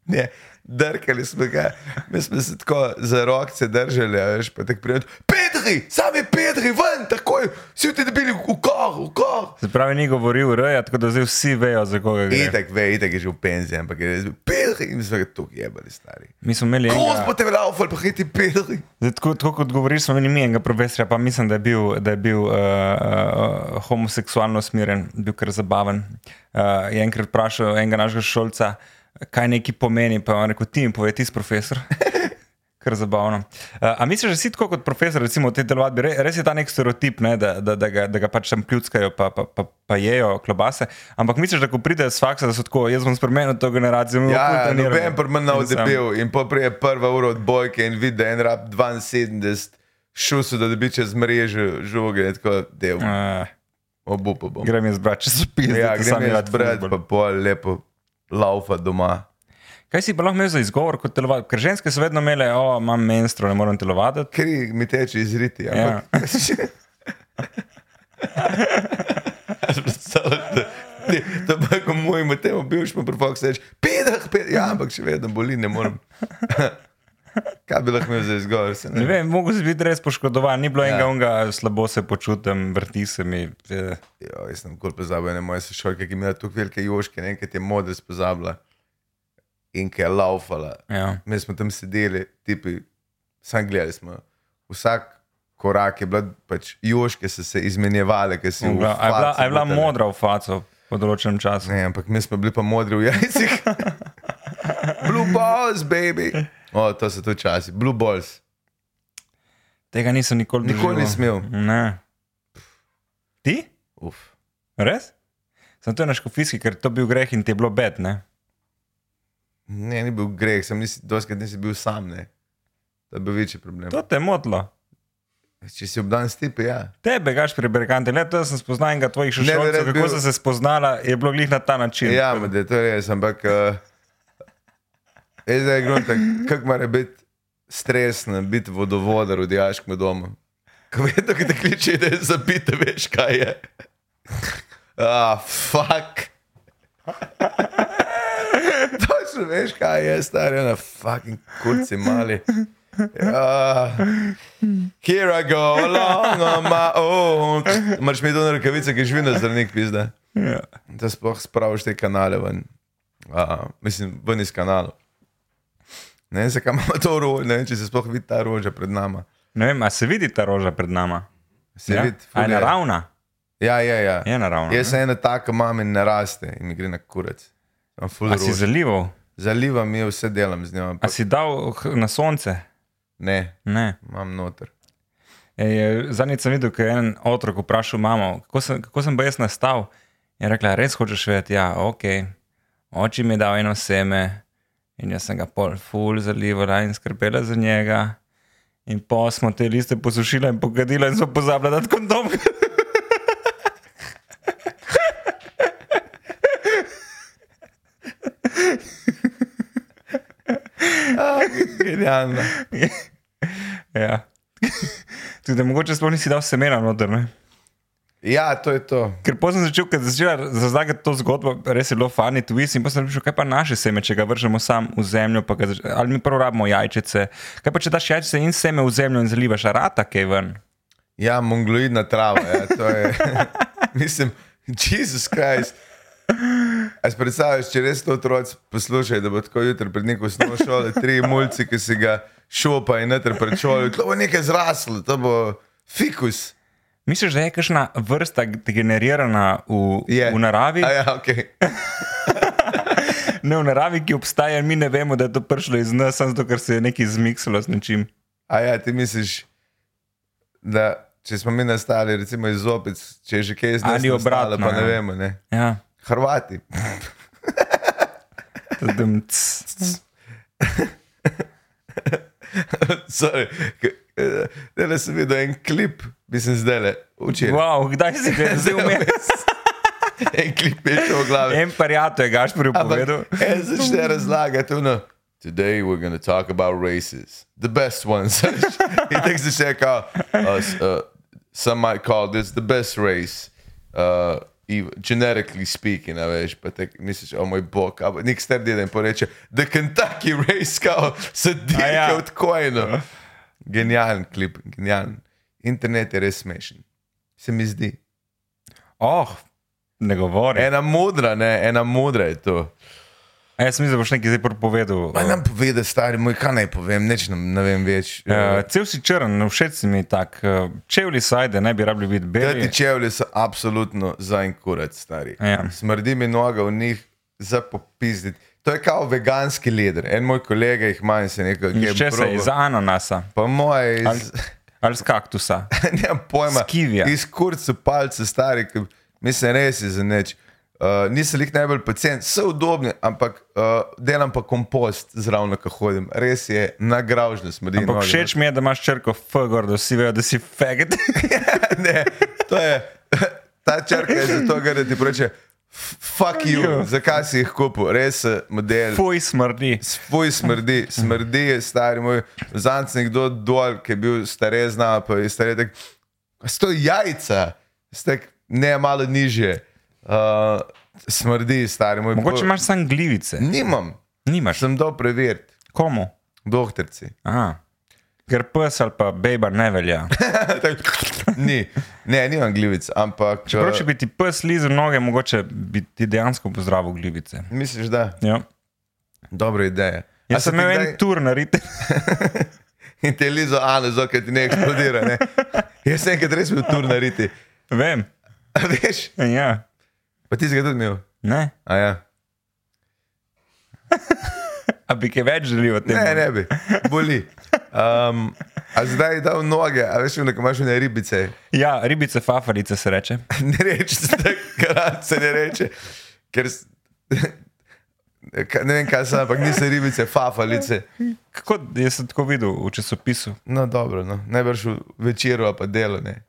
[SPEAKER 2] Ne, drkali smo ga, mi smo se tako za roke držali, a veš, pa tako prijeti. Pedri, sami Pedri, ven, takoj, vsi ti bili v kor, v kor.
[SPEAKER 1] Se pravi, ni govoril reja, tako da zdaj vsi vejo, za koga gre.
[SPEAKER 2] Itak, ve, itak je že v penziji, ampak je res bil Pedri in mi smo ga tukaj jebali, stari.
[SPEAKER 1] Mi smo imeli
[SPEAKER 2] Kroz
[SPEAKER 1] enega,
[SPEAKER 2] bo te laufal, pa hiti Pedri.
[SPEAKER 1] zdaj, tako, tako kot govoriš, smo imeli mi enega profesorja, pa mislim, da je bil, da je bil uh, uh, homoseksualno usmerjen, bil kar zabaven. Uh, je enkrat vprašal enega našega šolca, kaj neki pomeni, pa je on rekel: Ti jim povej, ti si profesor. <laughs> Kar zabavno. Uh, a misliš, da si tako kot profesor, recimo v tej telovadbi, re, res je ta nek stereotip, ne, da, da, da, ga, da ga pač tam pljuckajo, pa, pa, pa, pa jejo klobase. Ampak misliš, da ko pridejo s faksa, da so tako, jaz bom spremenil to generacijo, mi bomo ful
[SPEAKER 2] Ja,
[SPEAKER 1] trenirali."
[SPEAKER 2] noben prmena
[SPEAKER 1] In sem-
[SPEAKER 2] odebel in pa prije prva ura odbojke in vidi, da je en rab 72 šusu, da dobi čez mrežo žoge in tako del.
[SPEAKER 1] Uh,
[SPEAKER 2] Obupa bom.
[SPEAKER 1] grem jaz brati časopis,
[SPEAKER 2] Ja,
[SPEAKER 1] da ti sam
[SPEAKER 2] grem jaz
[SPEAKER 1] rad
[SPEAKER 2] brat,
[SPEAKER 1] fuzbol.
[SPEAKER 2] pa pol lepo laufa doma.
[SPEAKER 1] Kaj si pa lahko imel za izgovor kot telovadec? Ker ženske so vedno imele, o, imam menstruo, ne morem telovaditi.
[SPEAKER 2] Kri mi teče iz riti. ampak- <laughs> Predstavljaj, da- ne, To pa ko mojemu temu bivšemu profoku reče, pedah, pedah, ja, ampak še vedno boli, ne morem. <laughs> Kaj bi lahko imel za izgovor? se
[SPEAKER 1] Ne vem, mogoče si biti res poškodovan, ni bilo
[SPEAKER 2] Ja.
[SPEAKER 1] ja. enega unga, slabo se počutim, vrti se mi. eh.
[SPEAKER 2] Jo, jaz sem kul pozabil, ena moja sošolka, ki je imela tako velike joške, ne, enkrat je modres pozabila in ki je laufala.
[SPEAKER 1] Ja.
[SPEAKER 2] Mi smo tam sedeli, tipi, sam gledali smo. Vsak korak je bila, pač joške so se izmenjevale, ker si
[SPEAKER 1] A je
[SPEAKER 2] v
[SPEAKER 1] bila, a je bila,
[SPEAKER 2] faco
[SPEAKER 1] a je bila
[SPEAKER 2] botale.
[SPEAKER 1] modra v faco po določenem času?
[SPEAKER 2] Ne, ampak mi smo bili pa modri v
[SPEAKER 1] <laughs>
[SPEAKER 2] jajcih. Blue balls, baby. O, to so to časi, blue balls.
[SPEAKER 1] Tega nisem nikoli doživel.
[SPEAKER 2] Nikoli nisem imel.
[SPEAKER 1] Ne. Ti?
[SPEAKER 2] Uf.
[SPEAKER 1] Res? Sem to je na škofijski, ker to bil greh in ti je bilo bed, ne?
[SPEAKER 2] Ne, ni bil greh, sem nisi, doskrat nisi bil sam, ne. To je bil večji problem.
[SPEAKER 1] To te je motilo.
[SPEAKER 2] Če si obdan s tipi, ja.
[SPEAKER 1] Tebe, gaš pri Berganti, le to sem spoznal enega tvojih
[SPEAKER 2] bi rad
[SPEAKER 1] šošovcev, kako
[SPEAKER 2] bil-
[SPEAKER 1] bil... so se spoznala, je bilo glih na ta način.
[SPEAKER 2] Ja, ma, da je to res, ampak uh, jaz zdaj grunta, kako mora biti stresen, biti vodovodar v dijaškem domu. Ko vedno, ki te kliče, da je zapite, veš kaj je. Ah, fuck. Točno veš, kaj je, stari, na fucking kurci mali. Ja. Here I go, along on my
[SPEAKER 1] <laughs>
[SPEAKER 2] own. Marš mi do rokavice, ki živi na zrnik, pizda
[SPEAKER 1] Ja.
[SPEAKER 2] da sploh spraviš te kanale ven, uh, mislim, ven iz kanala. Ne vem, zakaj imamo to rožo, ne vem, če se sploh vidi ta roža pred nami.
[SPEAKER 1] Ne vem, a se vidi ta roža pred nama?
[SPEAKER 2] Se
[SPEAKER 1] ja?
[SPEAKER 2] vidi,
[SPEAKER 1] A je
[SPEAKER 2] ful je.
[SPEAKER 1] naravna?
[SPEAKER 2] Ja, ja, ja.
[SPEAKER 1] Je naravna.
[SPEAKER 2] Jaz sem ena taka mama in naraste in mi gre na kurec. Imam ful
[SPEAKER 1] A si
[SPEAKER 2] rož.
[SPEAKER 1] zalival?
[SPEAKER 2] Zalivam jo, vse delam z njo,
[SPEAKER 1] A
[SPEAKER 2] ampak
[SPEAKER 1] si dal h- na sonce?
[SPEAKER 2] ne,
[SPEAKER 1] Ne.
[SPEAKER 2] imam
[SPEAKER 1] <laughs>
[SPEAKER 2] noter.
[SPEAKER 1] Ej, Zadnjič sem videl, ko je en otrok vprašal mamo, kako sem, kako sem pa jaz nastal. Je rekla, res hočeš vedeti, ja, ok. Oči mi je dal eno seme in jaz sem ga pol ful zalivala in skrbela za njega. In pa smo te liste posušila in pokadila in so pozabila dati kondom.
[SPEAKER 2] Ah, Genialno.
[SPEAKER 1] ja. <laughs> Tudi mogoče sploh nisi dal semena noter. Ne?
[SPEAKER 2] Ja, to je to.
[SPEAKER 1] Ker potem sem začel, ker sem začel razlagati to zgodbo, res je bilo fani twist in potem sem prišel, kaj pa naše seme, če ga vržemo sam v zemljo, pa ga zač- ali mi prvo rabimo jajčice. Kaj pa če daš jajčice in seme v zemljo in zalivaš, a rata kaj ven?
[SPEAKER 2] Ja, mongoloidna trava. Ja, to
[SPEAKER 1] <laughs>
[SPEAKER 2] je, mislim, Jezus Krist. A si predstavljaš, če res to otroci poslušajo, da bo tako jutri pred neko osnovno šolo, tri mulci, ki se ga šopa in natr pred šolo, to bo nekaj zraslo, to bo fikus.
[SPEAKER 1] Misliš, da je kakšna vrsta degenerirana v,
[SPEAKER 2] Je.
[SPEAKER 1] v naravi?
[SPEAKER 2] A ja, okay.
[SPEAKER 1] Ne v naravi, ki obstaja, in mi ne vemo, da je to prišlo iz nas, samo zato, ker se je nekaj zmiksalo s nečim.
[SPEAKER 2] A ja, ti misliš, da če smo mi nastali, recimo iz opic, če je že kaj iz nas
[SPEAKER 1] Ali
[SPEAKER 2] nastalo,
[SPEAKER 1] obratno,
[SPEAKER 2] pa ne
[SPEAKER 1] ja.
[SPEAKER 2] vemo, ne?
[SPEAKER 1] Ja.
[SPEAKER 2] Hrvati. <laughs>
[SPEAKER 1] Tadam, ts, ts.
[SPEAKER 2] Sorry, da sem videl en klip, mislim zdaj le, včeraj.
[SPEAKER 1] Wow, kdaj si ga
[SPEAKER 2] <laughs>
[SPEAKER 1] zdaj umel?
[SPEAKER 2] En klip je šel v glavi.
[SPEAKER 1] En parijato je gaš pripovedal.
[SPEAKER 2] Ja, Ampak En začne razlagati, ono. no. Today we're going to talk about races, the best ones. <laughs> He takes the check out. Uh, some might call this the best race, uh, even, genetically speaking. A veš, pa te misliš, o moj bog, ampak nek star deden poreče, the Kentucky race, kao se dirka ja.
[SPEAKER 1] ja.
[SPEAKER 2] od kojeno. Genijalen klip, genijalen. Internet je res smešen, se mi zdi.
[SPEAKER 1] Oh, ne govori.
[SPEAKER 2] Ena modra, ne, ena modra je to.
[SPEAKER 1] A jaz mislim, da boš nekaj zdaj propovedal.
[SPEAKER 2] Pa nam pove, da stari moj, kaj naj povem, neč nam ne vem več. Eh,
[SPEAKER 1] Uh, cel si črn, no, všeč si mi tak. Uh, čevlji sajde, ne bi rabili biti beli.
[SPEAKER 2] Ti čevlji so absolutno za en kurac, stari.
[SPEAKER 1] Ja.
[SPEAKER 2] Smrdi mi noga v njih za popizditi. To je kao veganski leder. En moj kolega jih ima in se nekaj
[SPEAKER 1] Iz česa? Iz ananasa
[SPEAKER 2] Pa moje, <laughs> iz,
[SPEAKER 1] ali iz
[SPEAKER 2] <laughs>
[SPEAKER 1] kaktusa.
[SPEAKER 2] nemam pojma,
[SPEAKER 1] s kivija.
[SPEAKER 2] iz kurcu palce, stari, ki mislim res je za neč. Uh, nisem jih najbolj pacijent, so udobni, ampak uh, delam pa kompost zraven, ko hodim. Res je nagražno smrdi.
[SPEAKER 1] Ampak
[SPEAKER 2] noge.
[SPEAKER 1] všeč mi je, da imaš črko F, gor, da vsi vejo, da si
[SPEAKER 2] <laughs>
[SPEAKER 1] feged.
[SPEAKER 2] ne, to je, ta črka je zato, ker da ti reče, fuck you, zakaj si jih kupil, res eh, model.
[SPEAKER 1] Fuj smrdi.
[SPEAKER 2] Svoj smrdi, smrdi je star, moj zanc nekdo dol, ki je bil stare znal, pa je stare tak, "A so to jajca, stek ne malo nižje. Uh, smrdi, stari moj.
[SPEAKER 1] Mogoče
[SPEAKER 2] pol-
[SPEAKER 1] imaš samo glivice.
[SPEAKER 2] Nimam,
[SPEAKER 1] Nimaš.
[SPEAKER 2] sem dal preveriti.
[SPEAKER 1] Komu?
[SPEAKER 2] <laughs> Dohterci.
[SPEAKER 1] Aha. Ker pes ali pa beba ne velja.
[SPEAKER 2] Ni, ne, nimam glivic, ampak
[SPEAKER 1] Čeprav,
[SPEAKER 2] eh,
[SPEAKER 1] če bi ti pes lizel noge, mogoče bi ti dejansko pozdravil glivice.
[SPEAKER 2] eh, misliš, da
[SPEAKER 1] Ja.
[SPEAKER 2] dobra ideja. A
[SPEAKER 1] Jaz
[SPEAKER 2] so
[SPEAKER 1] sem
[SPEAKER 2] Ja ti
[SPEAKER 1] imel
[SPEAKER 2] kdaj-
[SPEAKER 1] en tur na rite.
[SPEAKER 2] In te lizo, ali zokaj ti ne eksplodira. Ne? Jaz sem enkrat res bil tur nariti.
[SPEAKER 1] <laughs> Vem,
[SPEAKER 2] A veš,
[SPEAKER 1] ja.
[SPEAKER 2] pa ti si ga tudi imel.
[SPEAKER 1] Ne.
[SPEAKER 2] A ja.
[SPEAKER 1] A bi kaj več želel o tem?
[SPEAKER 2] Ne, ne bi, boli. Um, a zdaj je dal noge, a veš, nekaj imaš ne ribice.
[SPEAKER 1] Ja, ribice, fafarice se reče.
[SPEAKER 2] Ne reče, takrat se ne reče. Ker, s- <laughs> Ka- ne vem, kaj so, ampak niso ribice, fafalice.
[SPEAKER 1] Kako jaz sem tako videl v časopisu?
[SPEAKER 2] No, dobro, no. najbrž v večeru ali pa delo. ne.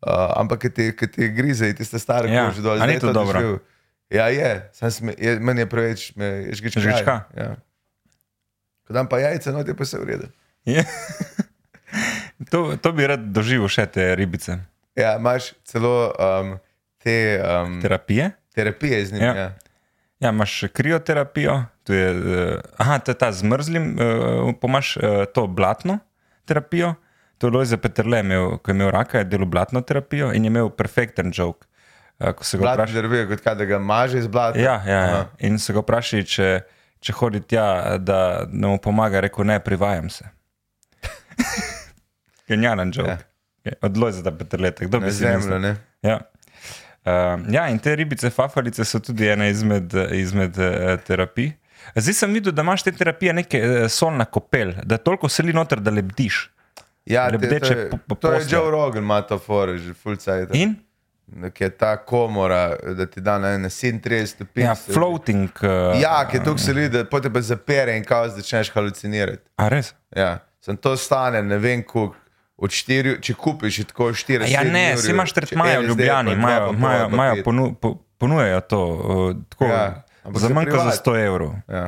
[SPEAKER 2] Uh, ampak, ki te, ke te grize, tiste stare
[SPEAKER 1] Ja,
[SPEAKER 2] kože dol,
[SPEAKER 1] a ni
[SPEAKER 2] zdaj je
[SPEAKER 1] to dobro?
[SPEAKER 2] doživel. Ja, je, Samo sme, je meni je preveč, me, je žgečka.
[SPEAKER 1] Žgečka?
[SPEAKER 2] Ja. Ko dam pa jajce, no, te pa se urede.
[SPEAKER 1] Je. Ja. <laughs> To, to bi rad doživel še te ribice.
[SPEAKER 2] Ja, imaš celo um, te um,
[SPEAKER 1] Terapije?
[SPEAKER 2] terapije z njim.
[SPEAKER 1] Ja.
[SPEAKER 2] Ja. Ja.
[SPEAKER 1] Ja, imaš krioterapijo, to je, eh, aha, to je ta zmrzlim, eh, pa imaš eh, to blatno terapijo. To je Lojze Peterle, imel, ko je imel raka, je delal blatno terapijo in je imel perfekten joke. eh, Ko se ga
[SPEAKER 2] Blatno
[SPEAKER 1] vpraša,
[SPEAKER 2] drvijo, kot kaj, da ga maže iz blata.
[SPEAKER 1] ja, ja,
[SPEAKER 2] Aha.
[SPEAKER 1] ja. in se ga vpraša, če, če hodi tja, da da mu pomaga, je rekel ne, privajam
[SPEAKER 2] <laughs>
[SPEAKER 1] se. Genialen joke. Ja. Od Lojze Peterle, kdo
[SPEAKER 2] Na
[SPEAKER 1] bi si mislil?
[SPEAKER 2] zemljo, ne.
[SPEAKER 1] Ja. Uh, ja, in te ribice, fafarice so tudi ena izmed, izmed uh, terapij. Zdaj sem videl, da imaš te terapije neke uh, solna kopel, da toliko seli noter, da lebdiš.
[SPEAKER 2] Ja, te, to,
[SPEAKER 1] Lebdeče
[SPEAKER 2] je,
[SPEAKER 1] po- po-
[SPEAKER 2] to je
[SPEAKER 1] posle. Ja.
[SPEAKER 2] Joe Rogan, ima to fore, že full cajt.
[SPEAKER 1] In
[SPEAKER 2] ki je ta komora, da ti da na 37 stopinj.
[SPEAKER 1] ja, floating. Uh,
[SPEAKER 2] Ja, ki je tukaj sedi, da potem pa zapere in kao začneš halucinirati.
[SPEAKER 1] A res?
[SPEAKER 2] Ja. Sem to stane, ne vem koliko. Od štiri, če kupiš je tako
[SPEAKER 1] A
[SPEAKER 2] 4,
[SPEAKER 1] Ja, ne, si imaš tretmaje v Ljubljani, imajo, imajo, imajo ponu, po, ponujejo to uh, tako,
[SPEAKER 2] Ja,
[SPEAKER 1] ja,
[SPEAKER 2] ampak
[SPEAKER 1] za
[SPEAKER 2] za
[SPEAKER 1] manj kot za
[SPEAKER 2] privat.
[SPEAKER 1] 100 evrov,
[SPEAKER 2] Ja,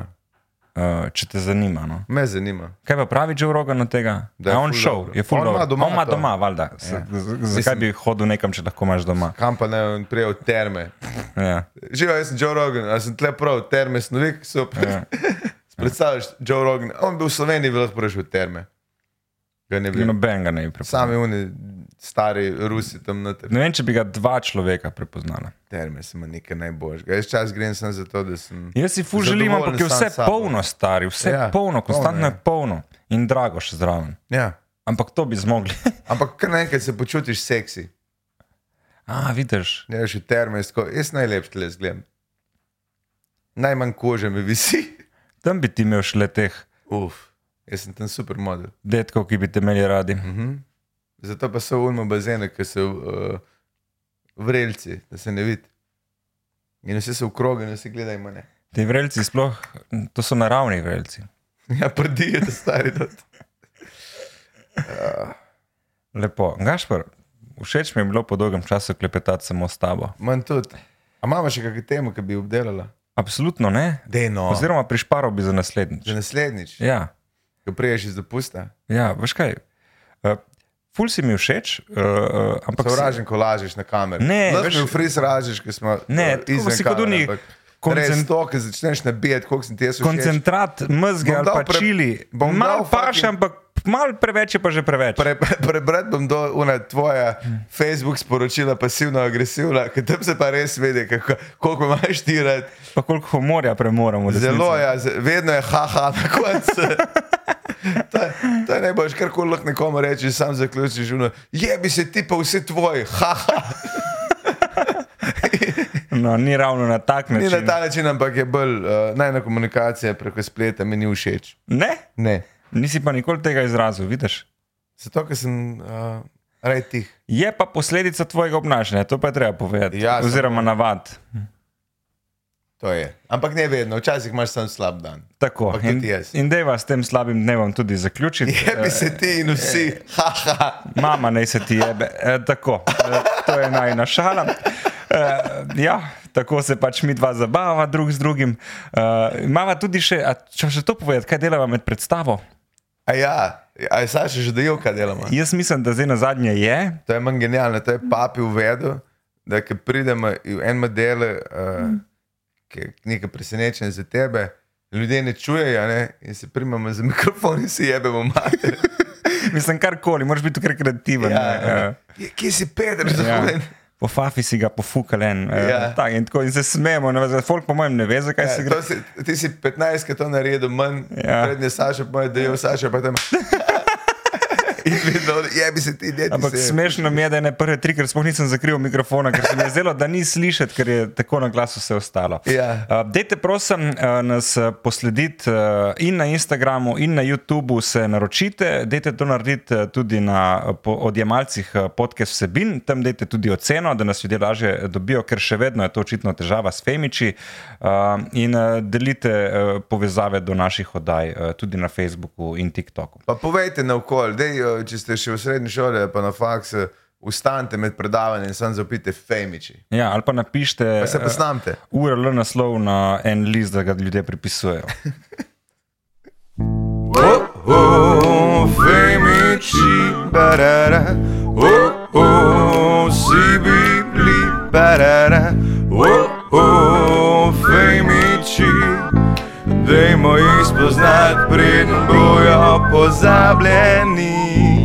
[SPEAKER 1] uh, če te zanima. No.
[SPEAKER 2] me zanima.
[SPEAKER 1] Kaj pa pravi Joe Rogan od tega?
[SPEAKER 2] Da
[SPEAKER 1] Da
[SPEAKER 2] je
[SPEAKER 1] je on
[SPEAKER 2] ful
[SPEAKER 1] šel,
[SPEAKER 2] dobro.
[SPEAKER 1] je full
[SPEAKER 2] On ima
[SPEAKER 1] dobro.
[SPEAKER 2] doma
[SPEAKER 1] On ima
[SPEAKER 2] to.
[SPEAKER 1] doma, valjda. Ja. Zakaj bi hodil nekam, če lahko imaš doma?
[SPEAKER 2] Kam pa ne vem, prej od terme.
[SPEAKER 1] Ja.
[SPEAKER 2] Živijo, jaz sem Joe Rogan, ali sem tle prav, terme snovik so.
[SPEAKER 1] Ja.
[SPEAKER 2] <laughs> Predstavljaš, Joe Rogan, on bi v Sloveniji bil lahko prišel v terme. Ga ne bi.
[SPEAKER 1] Noben ga ne bi prepoznal.
[SPEAKER 2] Sami oni stari Rusi tam noter.
[SPEAKER 1] Ne vem, če bi ga dva človeka prepoznala.
[SPEAKER 2] Terme sem nekaj najboljšega. Jaz čas grem samo zato, da sem.
[SPEAKER 1] Jaz si ful želim, ampak je
[SPEAKER 2] Zadovoljen sam
[SPEAKER 1] vse
[SPEAKER 2] s sabo.
[SPEAKER 1] polno, stari, vse
[SPEAKER 2] Ja,
[SPEAKER 1] ja, polno,
[SPEAKER 2] polno
[SPEAKER 1] konstantno
[SPEAKER 2] je.
[SPEAKER 1] je polno in drago še zraven.
[SPEAKER 2] Ja.
[SPEAKER 1] Ampak to bi zmogli. <laughs>
[SPEAKER 2] Ampak kar naenkrat se počutiš seksi.
[SPEAKER 1] A, vidiš.
[SPEAKER 2] Ne veš, terme, jaz tako- jaz najlepši tle zgledam. Najmanj kože mi visi.
[SPEAKER 1] Tam bi ti imel šele teh
[SPEAKER 2] Uf, jaz sem tam super model.
[SPEAKER 1] detkov, ki bi te imeli radi.
[SPEAKER 2] Mhm. Zato pa so ujmo bazene, ki so uh, vrelci, da se ne vidi. In vsi so v krogu, in vsi gledajo mene.
[SPEAKER 1] Ti vrelci sploh, to so naravni vrelci.
[SPEAKER 2] Ja, prdi je, da stari dot.
[SPEAKER 1] Lepo. Gašpar, všeč mi je bilo po dolgem času klepetati samo s tabo.
[SPEAKER 2] Manj tudi. A imamo še kakšno temo, ki bi obdelala?
[SPEAKER 1] Absolutno ne.
[SPEAKER 2] Dejno.
[SPEAKER 1] Oziroma prišparal bi za
[SPEAKER 2] Že
[SPEAKER 1] naslednjič.
[SPEAKER 2] No. naslednjič,
[SPEAKER 1] Ja.
[SPEAKER 2] ko priješ iz dopusta.
[SPEAKER 1] Ja, veš kaj. Uh, ful si mi všeč, uh, uh, ampak. si-
[SPEAKER 2] Sovražen, ko lažeš na kamero.
[SPEAKER 1] Ne,
[SPEAKER 2] veš,
[SPEAKER 1] veš-
[SPEAKER 2] mi v fris lažeš, ko smo
[SPEAKER 1] Ne,
[SPEAKER 2] eh,
[SPEAKER 1] tako
[SPEAKER 2] izven
[SPEAKER 1] si kot
[SPEAKER 2] kamere,
[SPEAKER 1] oni
[SPEAKER 2] ampak
[SPEAKER 1] koncent-
[SPEAKER 2] Res to, ki začneš nabijati, koliko sem ti jaz všeč.
[SPEAKER 1] Koncentrat, mzge
[SPEAKER 2] Bom
[SPEAKER 1] ali
[SPEAKER 2] dal
[SPEAKER 1] pa
[SPEAKER 2] pre-
[SPEAKER 1] čili.
[SPEAKER 2] bom dal
[SPEAKER 1] Mal paš,
[SPEAKER 2] fucking-
[SPEAKER 1] ampak mal preveč je pa že preveč.
[SPEAKER 2] Pre, prebrat bom do una tvoja
[SPEAKER 1] Hmm.
[SPEAKER 2] Facebook sporočila, pasivno-agresivna, ker tam se pa res vidi, kako, koliko imaš ti rad.
[SPEAKER 1] Pa koliko humorja premoramo. v resnici.
[SPEAKER 2] Zelo je, ja, z- vedno je haha na koncu. <laughs> to, je- to je najboljš, kar koli lahko nekomu rečeš, sam zaključiš živno. Je bi se ti pa vsi tvoji, haha.
[SPEAKER 1] No, ni ravno na tak
[SPEAKER 2] Ni
[SPEAKER 1] način.
[SPEAKER 2] na ta način, ampak je bolj uh, najna komunikacija preko spleta, mi ni všeč.
[SPEAKER 1] Ne,
[SPEAKER 2] Ne.
[SPEAKER 1] nisi pa nikoli tega izrazil, vidiš.
[SPEAKER 2] Zato, ker sem uh, raj tih.
[SPEAKER 1] Je pa posledica tvojega obnašanja, to pa je treba povedati.
[SPEAKER 2] Ja, sem-
[SPEAKER 1] Oziroma navad.
[SPEAKER 2] To je. Ampak ne vedno, včasih imaš sam slab dan.
[SPEAKER 1] Tako.
[SPEAKER 2] Ampak
[SPEAKER 1] In,
[SPEAKER 2] tudi jaz. Ja.
[SPEAKER 1] in deva s tem slabim dnevom tudi zaključiti.
[SPEAKER 2] Je bi se ti in vsi, <laughs> haha.
[SPEAKER 1] Mama naj se ti jebe. E, tako, e, to je najna šala. E, ja, tako se pač mi dva zabavava drug z drugim. E, Mava tudi še, a če še to povedati, kaj delava med predstavo?
[SPEAKER 2] A ja, a je Saša že dejal, kaj delamo.
[SPEAKER 1] Jaz mislim, da zdaj na zadnje je.
[SPEAKER 2] To je manj genialno, to je papi uvedel, da ko eh, pridemo in v enem delu, uh, ki je nekaj presenečen za tebe, ljudje ne čujejo ne? in se primemo za mikrofon in se jebemo mater.
[SPEAKER 1] Mislim, karkoli, moraš biti tukaj kreativen. ne,
[SPEAKER 2] ja.
[SPEAKER 1] eh.
[SPEAKER 2] Ja, kje si Peter,
[SPEAKER 1] Ja.
[SPEAKER 2] zahoden?
[SPEAKER 1] Po fafi si ga pofukal en.
[SPEAKER 2] Ja.
[SPEAKER 1] Ja. Tak, in, tako, in se smejemo, ne vem, folk po mojem ne ve, zakaj
[SPEAKER 2] Ja,
[SPEAKER 1] se gre.
[SPEAKER 2] to si, ti si 15, ki to naredi, manj ja.
[SPEAKER 1] Ja.
[SPEAKER 2] prednje Saša, pa je del Saša, pa tam. <laughs> In vedno, je bi se ti deti.
[SPEAKER 1] Ampak smešno mi je, da je ne prve tri, ker sploh nisem zakril mikrofona, ker se mi je zdelo, da ni slišati, ker je tako na glasu vse ostalo.
[SPEAKER 2] Ja.
[SPEAKER 1] Uh, dejte, prosim, uh, nas uh, poslediti uh, in na Instagramu, in na YouTubu se naročite. Dejte to narediti uh, tudi na uh, po- odjemalcih uh, podcast vsebin, tam dejte tudi oceno, da nas ljudje lažje eh, dobijo, ker še vedno je to očitno težava s Femiči. Uh, in uh, delite uh, povezave do naših oddaj uh, tudi na Facebooku in TikToku.
[SPEAKER 2] Pa povejte na okolje, dej, če ste še v srednji šoli ali pa na faksu, ustanite med predavanjem in sam zapite femiči.
[SPEAKER 1] Ja, ali pa napišite.
[SPEAKER 2] Pa se
[SPEAKER 1] eh,
[SPEAKER 2] posnamte.
[SPEAKER 1] URL naslov na en list, da ga ljudje pripisujejo.
[SPEAKER 2] Oh, oh, femiči, barara, oh, oh, si bi bili, barara, oh, oh, femiči. Dajmo jih spoznati, preden bojo pozabljeni.